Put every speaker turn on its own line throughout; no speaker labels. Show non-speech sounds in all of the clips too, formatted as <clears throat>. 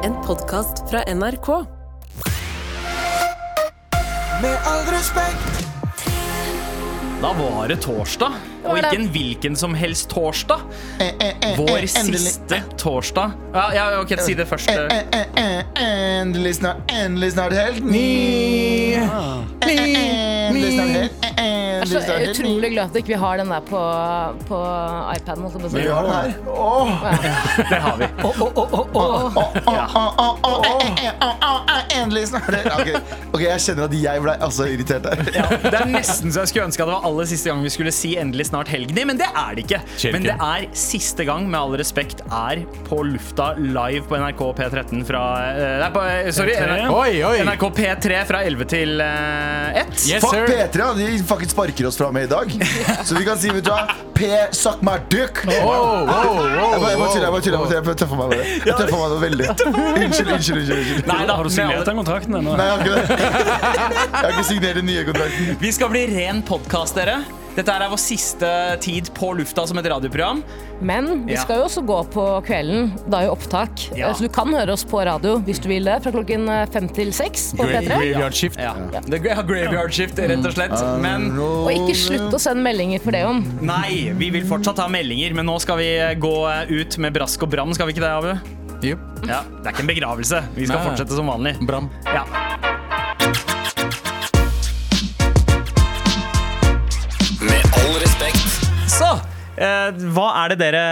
podkast fra NRK.
Med all respekt,
Da var det torsdag, og ikke en hvilken som helst torsdag.
Eh,
Vår siste torsdag. Ja, ja ok, Si det først. eh.
endelig snart, endelig snart helt ny. Eh, Endelig snart helt, eh,
Så
endelig snart helt ny.
utrolig glad at ikke vi har den der på, på iPaden. holdt jeg på å si.
Vi har den her. Åh.
Det har vi.
Åh, åh, åh, åh, åh, eh, eh, åh, åh, eh, Endelig snart helt Ok, ok, jeg kjenner at jeg ble altså irritert her.
Det er nesten så jeg skulle ønske at det var aller siste gang vi skulle si endelig snart helg. Nei, men det er det ikke. Men det er siste gang, med all respekt, er på lufta live på NRK P13 fra eh, Nei, på, eh, sorry. NRK,
Oi, oi.
NRK P3 fra 11 til eh, 1.
Yes,
Fuck
sir.
P3, ja, de fucking sparker oss fra med i dag. Så vi kan si, vet du hva, P, suck my dick.
Wow, wow, wow,
Jeg bare jeg bare tuller, jeg
wow.
bare tuller. jeg bare tuller. Jeg tøffer meg med det. Jeg tøffer meg med det veldig. Unnskyld, unnskyld, unnskyld. unnskyld.
Nei da,
Har du
med
signert
all-
den kontrakten ennå?
Nei, jeg har ikke det. Jeg har ikke signert den nye kontrakten.
Vi skal bli ren podkast, dere. Dette her er vår siste tid på lufta som et radioprogram.
Men vi
Ja.
skal jo også gå på kvelden. Da er jo opptak.
Ja.
Så du kan høre oss på radio hvis du vil det, fra klokken eh, fem til seks på P3.
Graveyard shift.
Ja. Det er gra- graveyard shift, rett og slett. Men
Og ikke slutt å sende meldinger for det, Jon.
nei, vi vil fortsatt ha meldinger. Men nå skal vi eh, gå ut med brask og bram, skal vi ikke det, Abu?
Yep.
Ja, Det er ikke en begravelse. Vi skal
Nei.
fortsette som vanlig.
Bram.
Ja.
Med all respekt.
Så eh, hva er det dere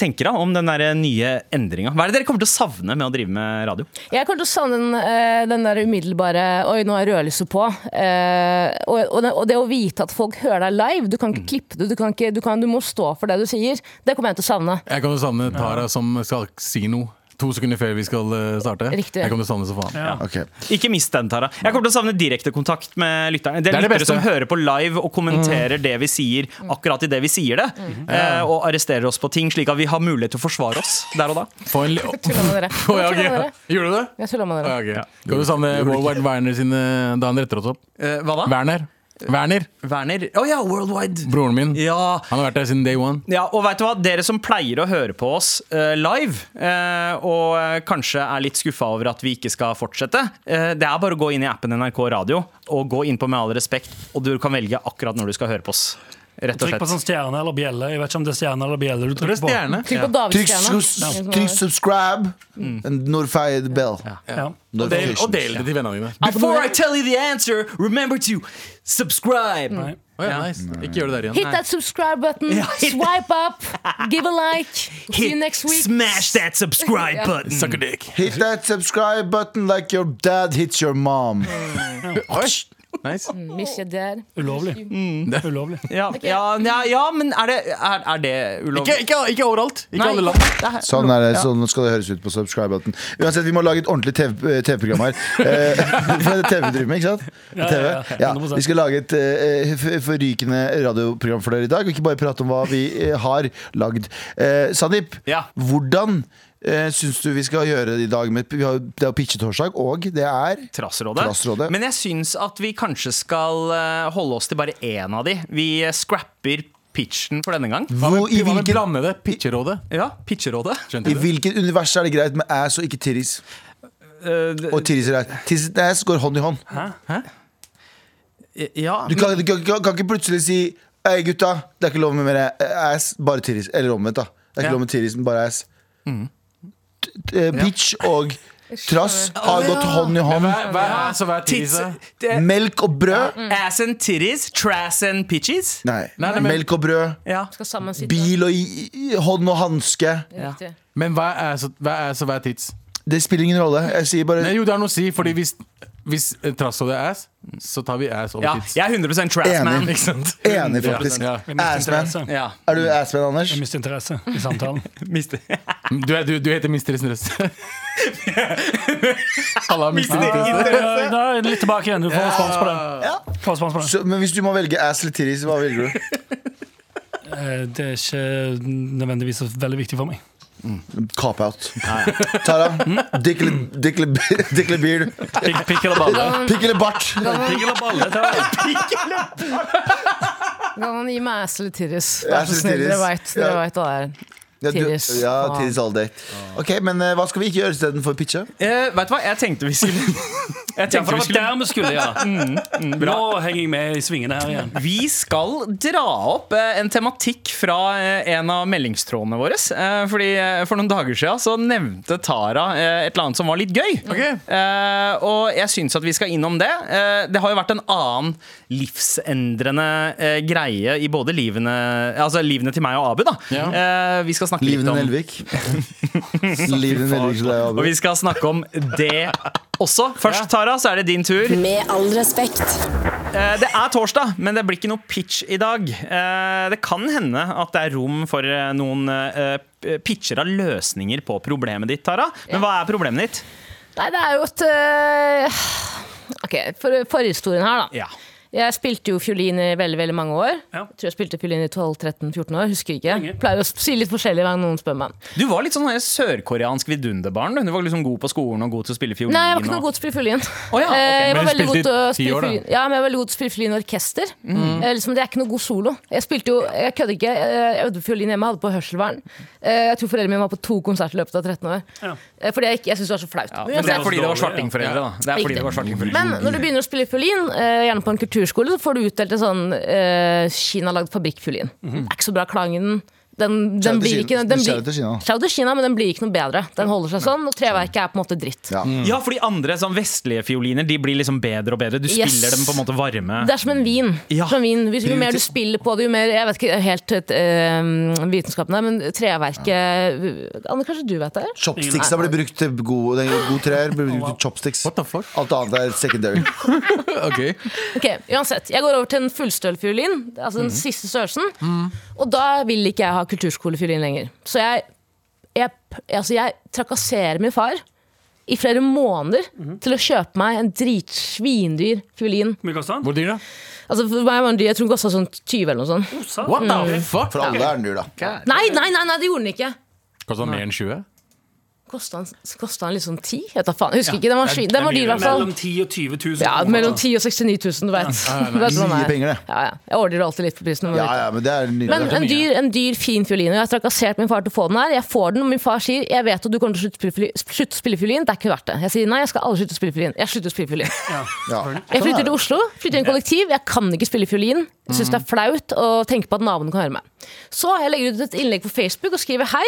tenker da om den der nye endringa? Hva er det dere kommer til å savne med å drive med radio?
Jeg kommer til å savne den, eh, den der umiddelbare Oi, nå er rødlyset på. Eh, og, og, det, og det å vite at folk hører deg live. Du kan ikke
Mm.
klippe det. Du, kan ikke, du, kan, du må stå for det du sier. Det kommer jeg til å savne.
Jeg kommer til å savne Tara som skal si noe to sekunder før vi skal eh, starte.
Riktig.
Jeg kommer til å savne så faen.
Ok.
Ikke mist den, Tara. Jeg kommer til å savne direktekontakt med lytterne. Det er
Det er det
lyttere
beste.
som hører på live og kommenterer det vi sier, akkurat idet vi sier det. eh, Og arresterer oss på ting, slik at vi har mulighet til å forsvare oss der og da.
Få en li <laughs>
Tulla med dere.
Å, Oh, ja, ok.
Tulla med dere.
Gjorde du det?
Jeg tulla med
Ja,
dere.
ok. Kommer til å savne Worldwide Werner sine da han retter oss opp.
Eh, hva da?
Werner. Werner,
Werner? Å ja, Worldwide.
broren min.
Ja.
Han har vært der siden day one.
Ja, og vet du hva? Dere som pleier å høre på oss eh, live, eh, og eh, kanskje er litt skuffa over at vi ikke skal fortsette, eh, det er bare å gå inn i appen NRK Radio og gå inn på Med all respekt, og du kan velge akkurat når du skal høre på oss. Rett og
Trykk på
slett.
sånn stjerne eller bjelle. Jeg vet ikke om det er stjerne eller bjelle du trykker på.
Trykk på
Trykk,
Davidsstjerna.
sus- trykk subscribe and notify the bell.
Ja.
Del,
Notifications.
og del det til vennene dine.
Before I tell you the answer, remember to subscribe.
Nei.
Å, ja, nice. Ikke gjør det der igjen.
Hit that subscribe button. Swipe up. Give a
<laughs>
like. See you next week.
Smash that <laughs> subscribe button.
Suck a dick.
Hit that subscribe button like your dad hits your mom.
Nice.
Miss you dead.
Ulovlig.
Mm.
Ulovlig.
Ja, ja, ja, ja, men er det, er, er det ulovlig?
Ikke, ikke, ikke overalt. Ikke alle land.
Sånn er det, sånn skal det høres ut på subscribe button. Uansett, vi må lage et ordentlig TV TV-program
<laughs>
her. Eh, <laughs> For det er TV vi driver med, ikke sant?
Ja,
TV.
ja, ja.
Ja,
100%.
vi skal lage et eh, f- forrykende radioprogram for dere i dag, og ikke bare prate om hva vi eh, har lagd. Eh, Sandeep,
Ja.
hvordan uh, syns du vi skal gjøre det i dag? Med, vi har, jo- det er jo pitchetorsdag, og det er
Trassrådet.
Trassrådet.
Men jeg syns at vi kanskje skal eh, holde oss til bare én av de. Vi eh, scrapper pitchen for denne gang.
Hva
hvor,
med,
i,
hva med
hvilken,
blandede? Pitcherådet?
Mm. Ja, pitcherådet.
I
Skjønte du?
hvilket univers er det greit med ass og ikke titties?
Eh,
Og titties er greit. Titties og ass går hånd i hånd.
Ja,
Du kan, du kan, kan, kan ikke plutselig si Ei gutta, det er ikke lov med mer eh, ass, bare titties. Eller omvendt, da. Det er ikke
Ja.
lov med titties, men bare ass.
Mm.
T- t- eh, Bitch og trass har gått hånd i hånd.
Hva er- hva er ass og hva er
tits
tisse?
det-
Melk og brød?
Ass and titties, trass and pitches.
Nei.
mm. Nei, nei, men-
Melk og brød,
Ja.
Skal sammen sitte.
bil og i, i, hånd og hanske.
Riktig.
Men hva er ass og hva er ass og hva er tits?
Det spiller ingen rolle. Jeg sier bare
Nei, jo, det har noe å si, fordi hvis, hvis eh, trass og det er ass, så tar vi ass og
ja.
tits.
Jeg er 100 trass man.
Enig.
Ikke sant?
enig, faktisk.
Ja.
Jeg mister interesse.
Assman.
<laughs> Ja.
Er du assman, Anders?
Jeg mister interesse i
<laughs>
samtalen.
Mister
Du, er- du, du heter Mr. Snrøs. Alle har mistet
Ja,
det.
ja, ja, litt tilbake igjen. Du får respons på det. Får respons på det.
Så, men hvis du må velge ass eller titties, hva
<laughs>
velger du?
Eh, Det er ikke nødvendigvis så veldig viktig for meg.
Cop-out. Tara,
Mm.
dick eller- dick eller dick eller beard?
Pikk, pikk eller balle.
Pikk eller bart?
Pikk eller balle. det er-
Kan man gi meg ass eller tirris?
Ass
Vær
eller
så snill, dere
titties.
veit dere
Ja.
vet hva det er.
Ja, du-
Tidis.
Ja,
Faen.
Tidis all day. Ok, men eh, hva skal vi ikke gjøre istedenfor pitche?
Eh, vet du hva, jeg tenkte vi skulle Jeg
Ja, for
tenkte vi skulle
det var der vi skulle, ja.
Mm,
Nå henger jeg med i svingene her igjen.
Vi skal dra opp eh, en tematikk fra eh, en av meldingstrådene våre. Eh, Fordi eh, For noen dager siden så nevnte Tara eh, et eller annet som var litt gøy. Eh, Og jeg syns at vi skal innom det. Eh, Det har jo vært en annen livsendrende eh, greie i både livene Altså livene til meg og Abu. da Eh, Vi skal snakke litt
Livene
om
Nelvik. Livene Nelvik så det er
Og
Abu.
vi skal snakke om det også. Først, Tara, så er det din tur.
Med all respekt.
Eh, Det er torsdag, men det blir ikke noe pitch i dag. Eh, Det kan hende at det er rom for eh, noen eh, p- pitcher av løsninger på problemet ditt, Tara. Men hva er problemet ditt?
Nei, det er jo et øh, Ok, for, forhistorien her, da.
Ja.
Jeg spilte jo fiolin i veldig veldig mange år.
Ja.
Jeg tror jeg spilte fiolin i 12-13-14 år. Husker ikke.
Lenge.
Pleier å si litt forskjellig hver gang noen spør meg.
Du var litt sånn her sørkoreansk vidunderbarn. Du Du var liksom god på skolen og god til å spille fiolin.
Nei, jeg var ikke
og-
noe god til å spille fiolin.
Å ja, ok.
<laughs> Eh, jeg var
Men du
veldig
spilte
god til å
i ti
spille
år, da?
fiolin- Ja, men jeg var veldig god til å spille fiolin i orkester. Eh, liksom, det er ikke noe god solo. Jeg spilte jo, jeg kødder ikke, eh, jeg øvde fiolin hjemme, jeg hadde på hørselvern. Eh, jeg tror foreldrene mine var på to konserter i løpet av 13 år.
Ja.
Eh, fordi jeg, ikke- jeg syns det var så flaut.
Ja,
Men
men det er
uansett-
fordi det var
dårlig, ja.
svartingforeldre, da. Det er fordi
Riktig.
det var svartingforeldre.
Men når du begynner å spille fiolin, eh, gjerne på en kulturskole, så får du utdelt en sånn eh, Kina-lagd fabrikkfiolin. Det er ikke så bra klang i den. Den,
Shout
den
out
blir
til
ikke
Kina.
den
Shout out til
blir,
Kina.
Shout out til Kina, men den blir ikke noe bedre. Den holder seg sånn, og treverket er på en måte dritt.
Ja.
Ja, fordi andre sånn vestlige fioliner De blir liksom bedre og bedre. Du
Yes.
spiller dem på en måte varme.
Det er som en vin.
Ja.
Som en vin. Hvis- Jo mer du spiller på det, jo mer Jeg vet ikke helt eh, vitenskapen her, men treverket Anne, kanskje du vet det?
Chopsticksa blir brukt til god, den er god treer. Blir brukt til chopsticks.
<laughs> What the fuck?
Alt annet er secondary.
Ok.
Ok, uansett. Jeg går over til en fullstølfiolin, altså den siste størrelsen. Og da vil ikke jeg ha kulturskolefiolin lenger. Så jeg, jeg, altså jeg trakasserer min far i flere måneder til å kjøpe meg en dritsvindyr fiolin.
Hvor mye koster den?
Hvor dyr, da?
Altså for meg var den dyr, Jeg tror den kosta sånn 20 eller noe sånn.
Osa?
What the fuck?
For alle er den dyr, da.
Nei, nei, nei, nei det gjorde den ikke!
Kosta mer enn 20?
Kosta den, kosta den liksom 10? Jeg vet da faen. Jeg husker ikke. Den var,
det er-
svin, den var
det
dyr,
er
i hvert fall.
Mellom altså. 10 og 20 000
Ja,
kroner.
Mellom 10 og 69 000, du vet. <laughs> Du vet
Mye
hvordan det er.
penger, det.
Ja, ja. Jeg ordner jo alltid litt på prisen. når man
Ja,
vet det.
ja, men det er
Men
nydelig.
en
mye.
dyr, en dyr, fin fiolin. Og jeg har trakassert min far til å få den her. Jeg får den, og min far sier Jeg vet at du kommer til å slutte å spille fiolin- slutte å spille fiolin. Det er ikke verdt det. Jeg sier nei, jeg skal aldri slutte å spille fiolin. Jeg slutter å
<laughs>
spille fiolin.
Ja.
eh, Jeg
Sånn er
flytter til
det.
Oslo, flytter i en kollektiv. Jeg kan ikke spille fiolin. Jeg syns det er flaut å tenke på at naboen kan høre meg. Så jeg legger ut et innlegg på Facebook og skriver hei.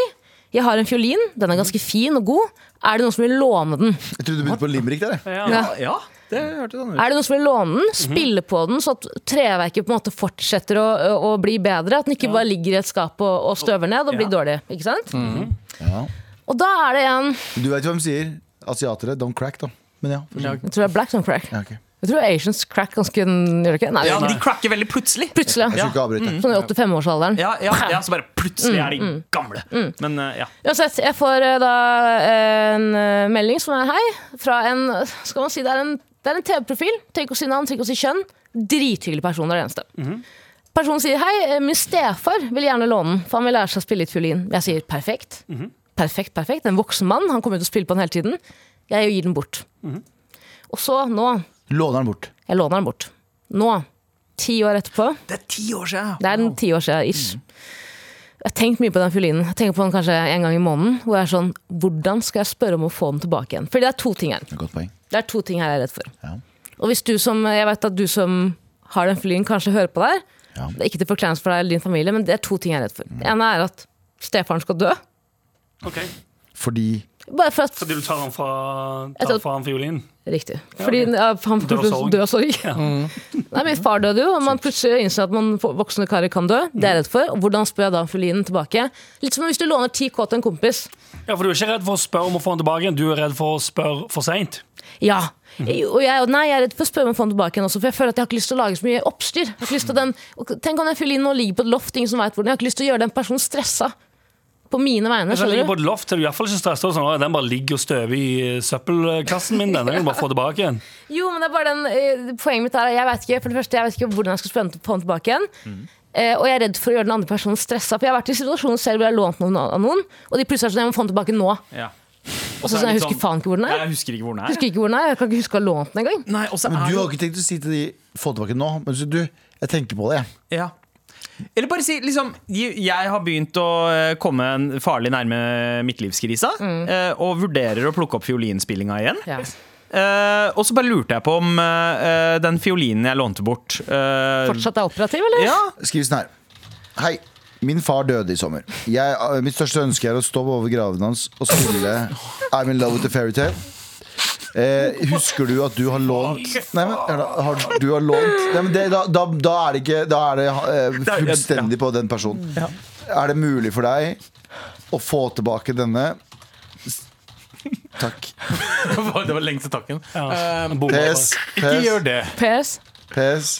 Jeg har en fiolin, den er ganske fin og god. Er det noen som vil låne den?
Jeg trodde du begynte på Limerick der. jeg.
ja, ja, det hørtes sånn ut.
Er det noen som vil låne den? Spille på den, så at treverket på en måte fortsetter å, å bli bedre? At den ikke bare ligger i et skap og, og støver ned og blir dårlig? Ikke sant?
Ja.
Og da er det en
Du vet hvem sier asiatere don't crack, da. Men ja.
Jeg tror det er black don't crack.
ja ok.
Jeg tror Asians crack ganske Gjør det ikke? Nei,
Ja, de
det gjør det ikke.
cracker veldig plutselig.
Plutselig.
Jeg
Ja.
skal ikke avbryte.
Sånn i 85-årsalderen.
Ja, ja, ja, så bare plutselig
Mm,
er de gamle. Men eh, ja.
Uansett, jeg får eh, da en eh, melding som er hei, fra en Skal man si det er en, det er en TV-profil. Trenger ikke å si navn, trenger ikke å si kjønn. Drithyggelig person, det er det eneste. Personen sier hei, eh, min stefar vil gjerne låne den, for han vil lære seg å spille litt fiolin. Jeg sier perfekt. Perfekt, perfekt. En voksen mann, han kommer jo til å spille på den hele tiden. Jeg gir den bort. Og så, nå
Låner den bort.
Jeg låner den bort. Nå, ti år etterpå.
Det er ti år siden. Mm.
Det er en ti år siden, ish. Jeg har tenkt mye på den fiolinen. Jeg tenker på den kanskje en gang i måneden. Hvor jeg er sånn, hvordan skal jeg spørre om å få den tilbake igjen? Fordi det er to ting her.
Det er et Godt poeng.
Det er to ting her jeg er redd for.
Ja.
Og hvis du som, jeg vet at du som har den fiolinen kanskje hører på der.
Ja.
Det er ikke til forkleinelse for deg eller din familie, men det er to ting jeg er redd for.
Mm.
Det ene er at stefaren skal dø.
Ok,
Fordi
Bare for at
Fordi du tar den fra,
Jeg
tar
tror-
den fra han fiolinen?
Riktig. Fordi ja, han
Dør av sorg.
dør av sorg. Nei, min far døde jo, og man plutselig innser at man voksne karer kan dø. Det er jeg redd for. Og hvordan spør jeg da om fiolinen tilbake? Litt som hvis du låner 10K til en kompis.
Ja, for Du er ikke redd for å spørre om å få den tilbake igjen, du er redd for å spørre for seint.
Ja.
Mm.
Jeg- Og jeg, og nei, jeg er redd for å spørre meg om å få den tilbake igjen også, for jeg føler at jeg har ikke lyst til å lage så mye oppstyr. Jeg har ikke lyst til den, og tenk om den fiolinen nå ligger på et loft, ingen som vet hvor den er. Jeg har ikke lyst til å gjøre den personen stressa. På mine vegne,
Den ligger
skjønner
på
du.
et loft, er du i hvert fall ikke stresset og sånn, «Å, den bare ligger og støver i eh, søppelkassen min. Den, den kan du bare få tilbake igjen.
Jo, men det er bare den, eh, poenget mitt er at jeg vet ikke, for det første, jeg vet ikke hvordan jeg skal spørre den- få den tilbake igjen.
Mm.
Eh, og jeg er redd for å gjøre den andre personen stressa. For jeg har vært i situasjonen selv hvor jeg har lånt noen av noen, og de plutselig er sånn, jeg må få den tilbake nå.
Ja.
Og så sånn, jeg
litt
husker faen ikke hvor den er.
Jeg husker ikke hvor den er.
Jeg husker ikke hvor den er, jeg kan ikke huske å ha lånt den engang.
Nei, og så
Men
er
du har
det-
ikke tenkt å si til de Få tilbake nå. Men så du, jeg tenker på det, jeg.
ja. Eller bare si liksom Jeg jeg har begynt å eh, komme en farlig nærme midtlivskrisa, eh, og vurderer å plukke opp fiolinspillinga igjen.
Mm. Ja.
Eh, og så bare lurte jeg på om eh, eh, den fiolinen jeg lånte bort eh,
Fortsatt er operativ, eller?
Ja,
Skriv sånn her. Hei. Min far døde i sommer. Jeg, eh, mitt største ønske er å stå over graven hans og spille I'm in love with a fairytale. Eh, husker du at du har lånt Nei, men hør da, har, du har lånt Nei, men det, da, da, da er det ikke Da er det eh, fullstendig på den personen. Er det mulig for deg å få tilbake denne? S- Takk.
<laughs> Det var lengste takken.
Ja.
Eh,
Bomma
PS.
på.
ikke
PS.
gjør det.
PS.
PS.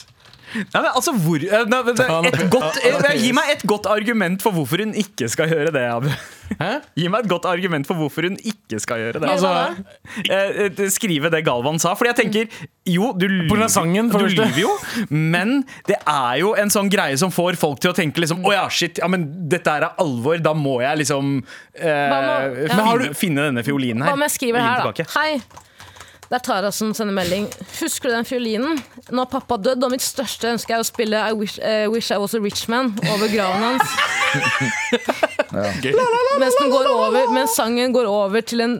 Nei, men altså hvor eh, nei, men det-
Ta den-
et godt,
ta den-
eh, Gi meg et godt argument for hvorfor hun ikke skal gjøre det, Abu.
Hæ?
Gi meg et godt argument for hvorfor hun ikke skal gjøre det.
Gjøre
Altså, eh, eh, skrive det Galvan sa. Fordi jeg tenker, jo, du
På grunn av
lyver,
sangen, for
du
det første.
lyver jo, men det er jo en sånn greie som får folk til å tenke liksom Å ja, shit, ja, men dette er alvor. Da må jeg liksom eh,
Hva med- ja. Men har
finne,
du-
finne denne fiolinen her.
Hva om jeg skriver
og gi den
her, da?
tilbake.
Hei. Det er Tara som sender melding. Husker du den fiolinen? Nå har pappa dødd, og mitt største ønske er å spille I Wish, eh, wish I Was A Rich Man over graven hans. mens, den går over, mens sangen går over til en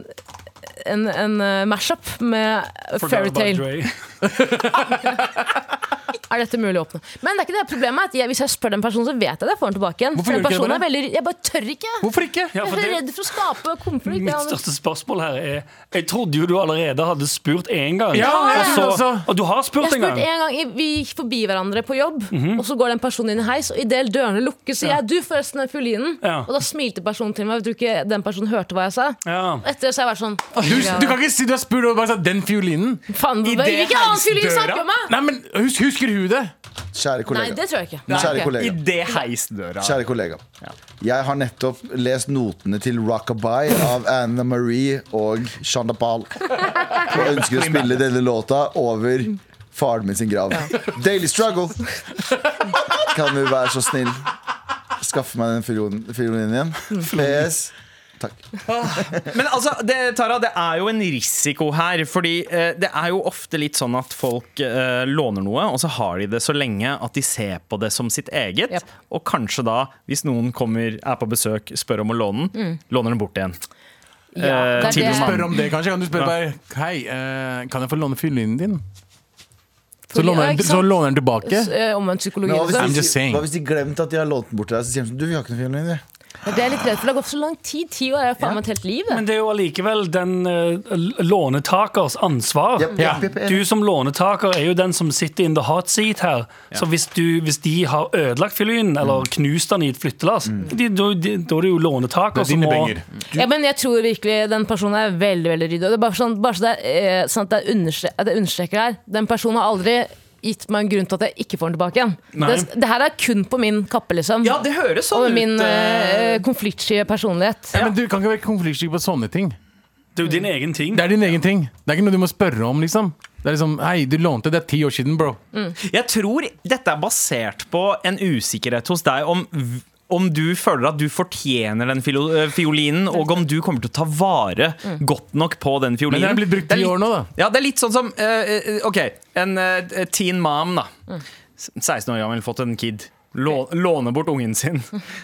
en, en eh, mashup med
Forgot
<laughs>
about
Fairytale.
Dre.
Er dette mulig å åpne? Men det er ikke det problemet. At jeg, hvis jeg spør den personen, så vet jeg det. Jeg får den tilbake igjen.
Hvorfor
For
gjør
den
du ikke det
personen er
bare?
veldig, jeg bare tør ikke.
Hvorfor ikke?
Ja, for
Jeg er
det,
redd for å skape konflikt.
mitt
Jeg-
største spørsmål her er Jeg trodde jo du allerede hadde spurt én gang.
Ja, Altså,
og,
jeg
så,
trodde også.
og du har
Jeg
spurt en
spurte
gang.
en gang, Vi gikk forbi hverandre på jobb,
Mhm.
og så går den personen inn i heis, og idet dørene lukkes, sier jeg 'du, forresten, den fiolinen'.
Ja.
Og da smilte personen til meg. Jeg tror ikke den personen hørte hva jeg sa.
Ja.
Og Etter det så har jeg vært sånn
Du, du kan ikke si du har spurt og bare sagt 'den fiolinen'.
Faen,
I
hva-
det
hvilken annen fiolin
heisdøra-
snakker om meg?
Nei, men hus- Husker hun det?
Kjære
Nei,
kollega.
det tror jeg ikke.
Kjære
Ok.
kollega.
Idet heisdøra
Kjære kollega. Jeg har nettopp lest notene til Rockabye av Anna Marie og Shanda Pahl. Og ønsker å spille denne låta over faren min sin grav. Daily struggle. Kan du være så snill skaffe meg den filionen filionen
Mm.
igjen? PS. Takk.
Men altså, det, Tara, det er jo en risiko her. Fordi eh, det er jo ofte litt sånn at folk eh, låner noe, og så har de det så lenge at de ser på det som sitt eget.
Jep.
Og kanskje da, hvis noen kommer, er på besøk, spør om å låne den, låner den bort igjen.
Mm. Ja, det er
Eh, til
det.
mann.
Spør om det, kanskje. Kan du spørre bare Hei, eh, kan jeg få låne fiolinen din? Så
Fordi-
låner,
ja,
den,
ikke
så
sant?
låner den
S-
tilbake.
eh, Omvendt psykologi.
Men hva
også.
I'm
hvis,
just
de,
saying.
hva hvis de glemte at de har lånt den bort til deg? Så sier de sånn Du, vi har ikke noen fiolin. vi».
Det er jeg litt redd for. Det har gått så lang tid. Ti år er jo faen meg et helt liv. det.
Men det er jo allikevel den eh, lånetakers ansvar.
Jepp, jepp, jepp, enig.
Du som lånetaker er jo den som sitter in the hot seat her. Så hvis, du, hvis de har ødelagt fiolinen,
Mm.
eller knust den i et flyttelass, de- da de- da er det jo lånetaker
Det er
som
dine
må
penger.
Ja, men jeg tror virkelig den personen er veldig veldig ryddig. Og det er bare sånn, bare så det er, eh, sånn at det er understre at jeg understreker her. Den personen har aldri gitt meg en grunn til at jeg ikke får den tilbake igjen.
Nei.
Det, det her er kun på min kappe, liksom.
Ja, det høres sånn
og min
ut. eh,
eh, konfliktsky personlighet.
Ja, men du kan ikke være konfliktsky på sånne ting.
Det er jo din egen ting.
Det er din egen ting. Det er ikke noe du må spørre om, liksom. Det er liksom, Hei, du lånte, det er ti år siden, bro.
Mm.
Jeg tror dette er basert på en usikkerhet hos deg om v- om du føler at du fortjener den filo- øh, fiolinen, og om du kommer til å ta vare godt nok på den
Men
fiolinen.
den er blitt brukt
Det er
ti
litt-
år nå, da.
Ja, det er litt sånn som eh, eh, Ok, en eh, teen mom da 16 år gammel, fått en kid Lå, Låne bort ungen sin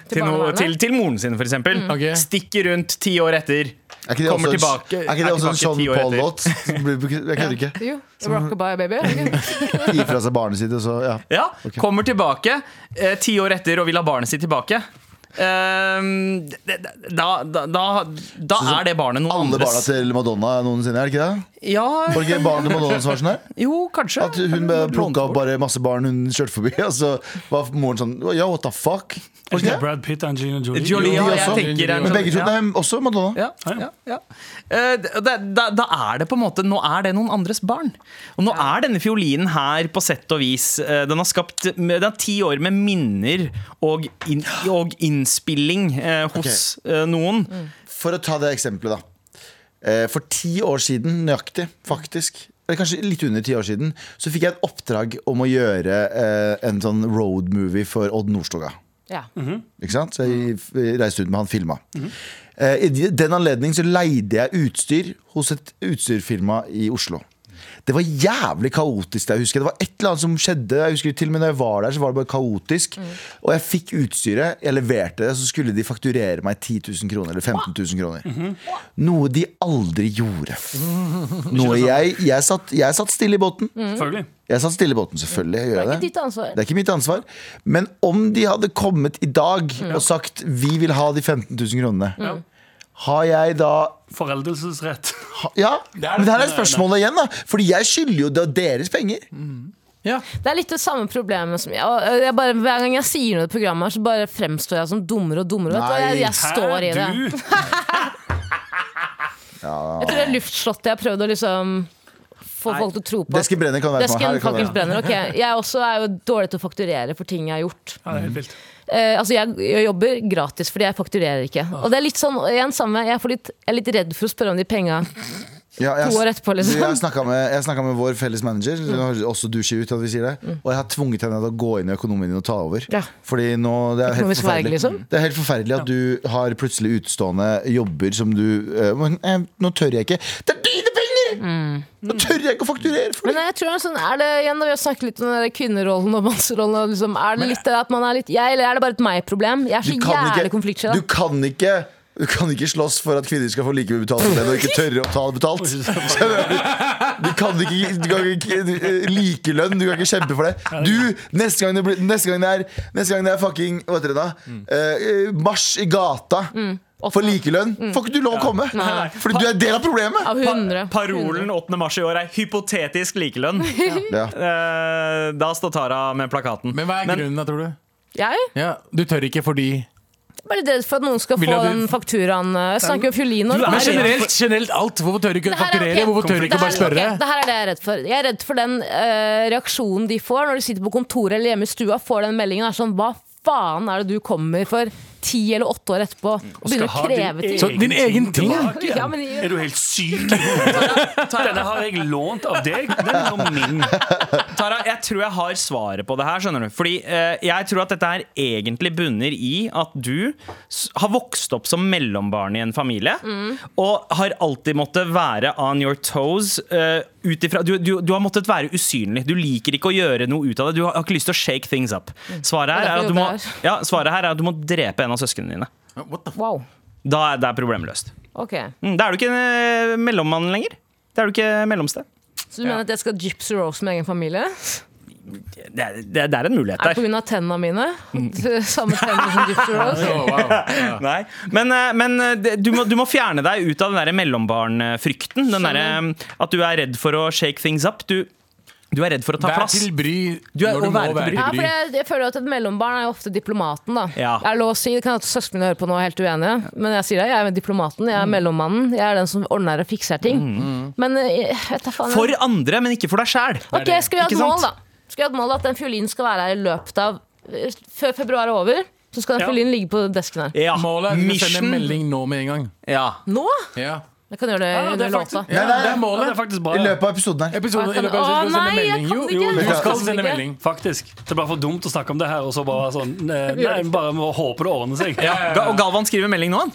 til, noe,
barnevernet?
til, til moren sin for eksempel
Mm. Ok.
Stikker rundt 10 år etter
Er ikke det
Kommer
også,
tilbake-
er ikke det
er
også en
tilbake
Sean
ti år
Paul-låt? Som blir brukt- Jeg kødder ikke.
Jo, rockabye baby.
Gi fra seg barnet sitt, og så ja.
Ja,
Ok.
kommer tilbake eh, 10 år etter og vil ha barnet sitt tilbake Ehm, d- d- da, da, da, da er det barnet noen
Alle barna
andres
til Madonna noensinne, er det ikke det?
ja,
Var det ikke barnet til Madonna som var sånn her?
Jo, kanskje
At hun plukka opp bare masse barn hun kjørte forbi, og så var moren sånn Ja, what the fuck?
Er
Var det
ikke det
ikke det?
Brad Pitt og Angelina Jolie.
Jolie, ja,
de
jeg
også?
tenker en
Men
sånn-
begge to
ja.
Nei, også Madonna.
Ja, ja, ja. Eh, Da, da, da er det på en måte Nå er det noen andres barn. Og nå er denne fiolinen her på sett og vis eh, Den har skapt Den har ti år med minner og, inn- og innspilling eh, hos eh, noen.
For å ta det eksempelet, da. Eh, For ti år siden, nøyaktig, faktisk eller Kanskje litt under ti år siden Så fikk jeg et oppdrag om å gjøre eh, en sånn roadmovie for Odd Nordstoga.
<laughs> Ja.
Ikke sant? Så jeg f- reiste ut med han filma. Eh, I de- den anledning så leide jeg utstyr hos et utstyrfirma i Oslo. Det var jævlig kaotisk. Jeg husker Det var et eller annet som skjedde. Jeg husker Til og med når jeg var der, så var det bare kaotisk. Og jeg fikk utstyret, jeg leverte det, så skulle de fakturere meg 10 000 kroner eller 15 000 kroner. Noe de aldri gjorde. Noe jeg, jeg, satt, jeg satt stille i båten.
Mm.
Selvfølgelig.
Jeg satt stille i båten, selvfølgelig. Jeg gjør
Det er
det.
ikke ditt ansvar.
Det er ikke mitt ansvar. Men om de hadde kommet i dag
Mm.
og sagt 'vi vil ha de 15 000 kronene', har jeg da
Foreldelsesrett.
ha, Ja, men det Mm. her er spørsmålet igjen, da. Fordi jeg skylder jo da deres penger.
Ja.
Det er litt det samme problemet som jeg, og jeg bare, Hver gang jeg sier noe i programmet, her, så bare fremstår jeg som dummere og dummere. Vet du? hva? Jeg,
Nei.
jeg står i det.
du?
Jeg tror det er luftslottet jeg har prøvd å liksom få folk til å tro på.
Desken brenner kan være på
Desken
her. Kan
faktisk
være.
brenner, ok Jeg også er jo dårlig til å fakturere for ting jeg har gjort.
Ja, det er helt vilt.
Eh, altså jeg, jeg jobber gratis fordi jeg fakturerer ikke. Og det er litt sånn, igjen samme, jeg, får litt, jeg er litt redd for å spørre om de penga
Ja, jeg,
to år etterpå.
Du, Jeg
Liksom. Mm.
snakka med, jeg snakket med vår felles manager, det høres også du sier ut at vi sier det og jeg har tvunget henne til å gå inn i økonomien og ta over.
Ja.
Fordi nå, det er, helt
Økonomisk verg,
forferdelig.
liksom.
det er helt forferdelig at du har plutselig utestående jobber som du eh, men, eh, Nå tør jeg ikke. Det er dine penger!
Mm.
Nå tør jeg ikke å fakturere! For det.
Men jeg tror det er sånn, er det igjen da vi har snakket litt om den der kvinnerollen og mannsrollen og liksom, Er det litt det at man er litt jeg, Eller er det bare et meg-problem? Jeg er så
Du kan
jævlig
ikke,
konfliktsky. da.
du kan ikke du kan ikke slåss for at kvinner skal få like mye betalt som menn, og ikke tørre å ta det betalt. Skjønner du? Du kan ikke, du kan ikke eh, likelønn. Du kan ikke kjempe for det. Du, Neste gang det, blir, neste gang det, er, neste gang det er fucking hva heter det da? Eh, marsj i gata
Mm.
for likelønn, får ikke du lov å komme! Fordi du er del av problemet!
Av hundre.
Parolen 8. mars i år er 'hypotetisk likelønn'.
Ja.
Eh, da står Tara med plakaten.
Men hva er grunnen, da, tror du?
Jeg
Ja, du tør ikke fordi
Jeg er bare redd for at noen skal
Vil
få
jeg at du-
den fakturaen. Jeg snakker om fiolin nå.
Du er
Men
Det her-
generelt, generelt alt. Hvorfor tør du ikke
Det her er-
fakturere?
ok.
Hvorfor tør du ikke
Det her-
bare spørre?
ok, Det her er det jeg er redd for. Jeg er redd for den eh, reaksjonen de får når de sitter på kontoret eller hjemme i stua får den meldingen. Er sånn, Hva faen er det du kommer for ti eller åtte år etterpå? Og begynner å
ha din
kreve ting.
Mm. Så din egen ting?
tilbake.
Ja, men i-
Er du helt syk? Denne har jeg lånt av deg. Den er nå
Eh,
min.
Tara, jeg tror jeg har svaret på det her, skjønner du. Fordi eh, jeg tror at dette her egentlig bunner i at du s har vokst opp som mellombarn i en familie,
Mm.
og har alltid måttet være on your toes. eh, ut ifra, du, du, du har måttet være usynlig. Du liker ikke å gjøre noe ut av det. Du har, har ikke lyst til å shake things up. Svaret her
Mm. Det er
er
derfor
at du må,
jeg jobber
ja, svaret her er at du må drepe en av søsknene dine. <laughs>
Wow.
Da er det er problemet løst.
Ok.
Mm, da er du ikke en eh, mellommann lenger. Da er du ikke mellomsted.
Så du mener at jeg skal gypsy Rose med egen familie?
Det, er- det, er- det er en mulighet
Er
der.
det pga. tennene mine?
Mm.
<laughs> Samme tenner som gypsy Rose?
Å, wow.
Nei. Men, eh, men eh, det- du, må, du må fjerne deg ut av den der mellombarnfrykten. Den derre, eh, at du er redd for å shake things up. Du, du er redd for å ta
Vær
plass.
til bry
Du er-
når du
å
må
være til
være
bry.
Ja, for
til bry.
jeg, jeg føler at Et mellombarn er jo ofte diplomaten. da
Ja.
Det er lov å si, det kan at Søsknene mine hører på nå og er helt uenige, men jeg sier det. Jeg er diplomaten, jeg
Mm.
er mellommannen. Jeg er den som ordner og fikser ting. Men eh, jeg vet da faen
For andre, men ikke for deg sjæl.
Ok, Skal vi ha
Ikke
et
sant?
mål, da? Skal vi ha et mål At den fiolinen skal være her i løpet av eh, Før februar er over, så skal den
Ja.
fiolinen ligge på desken her.
Ja.
Målet er å sende en
Mission.
melding nå med en gang.
Ja.
Nå?
Ja.
Jeg kan gjøre det
Ja, det
under
er
låta.
Ja,
nei,
det er
Ja, det
målet.
er faktisk bra.
I løpet av episoden her.
Å,
Episoden, i løpet av episoden skal
nei,
du sende
jeg
melding.
kan
Jo,
ikke.
jo,
Jeg
du
kan
skal
ikke.
sende melding.
Faktisk. Det er bare for dumt å snakke om det her, og så bare sånn eh, Nei, bare må håpe det ordner seg.
Ja, ja,
Ga- Og
ja.
Galvan skriver melding nå, han.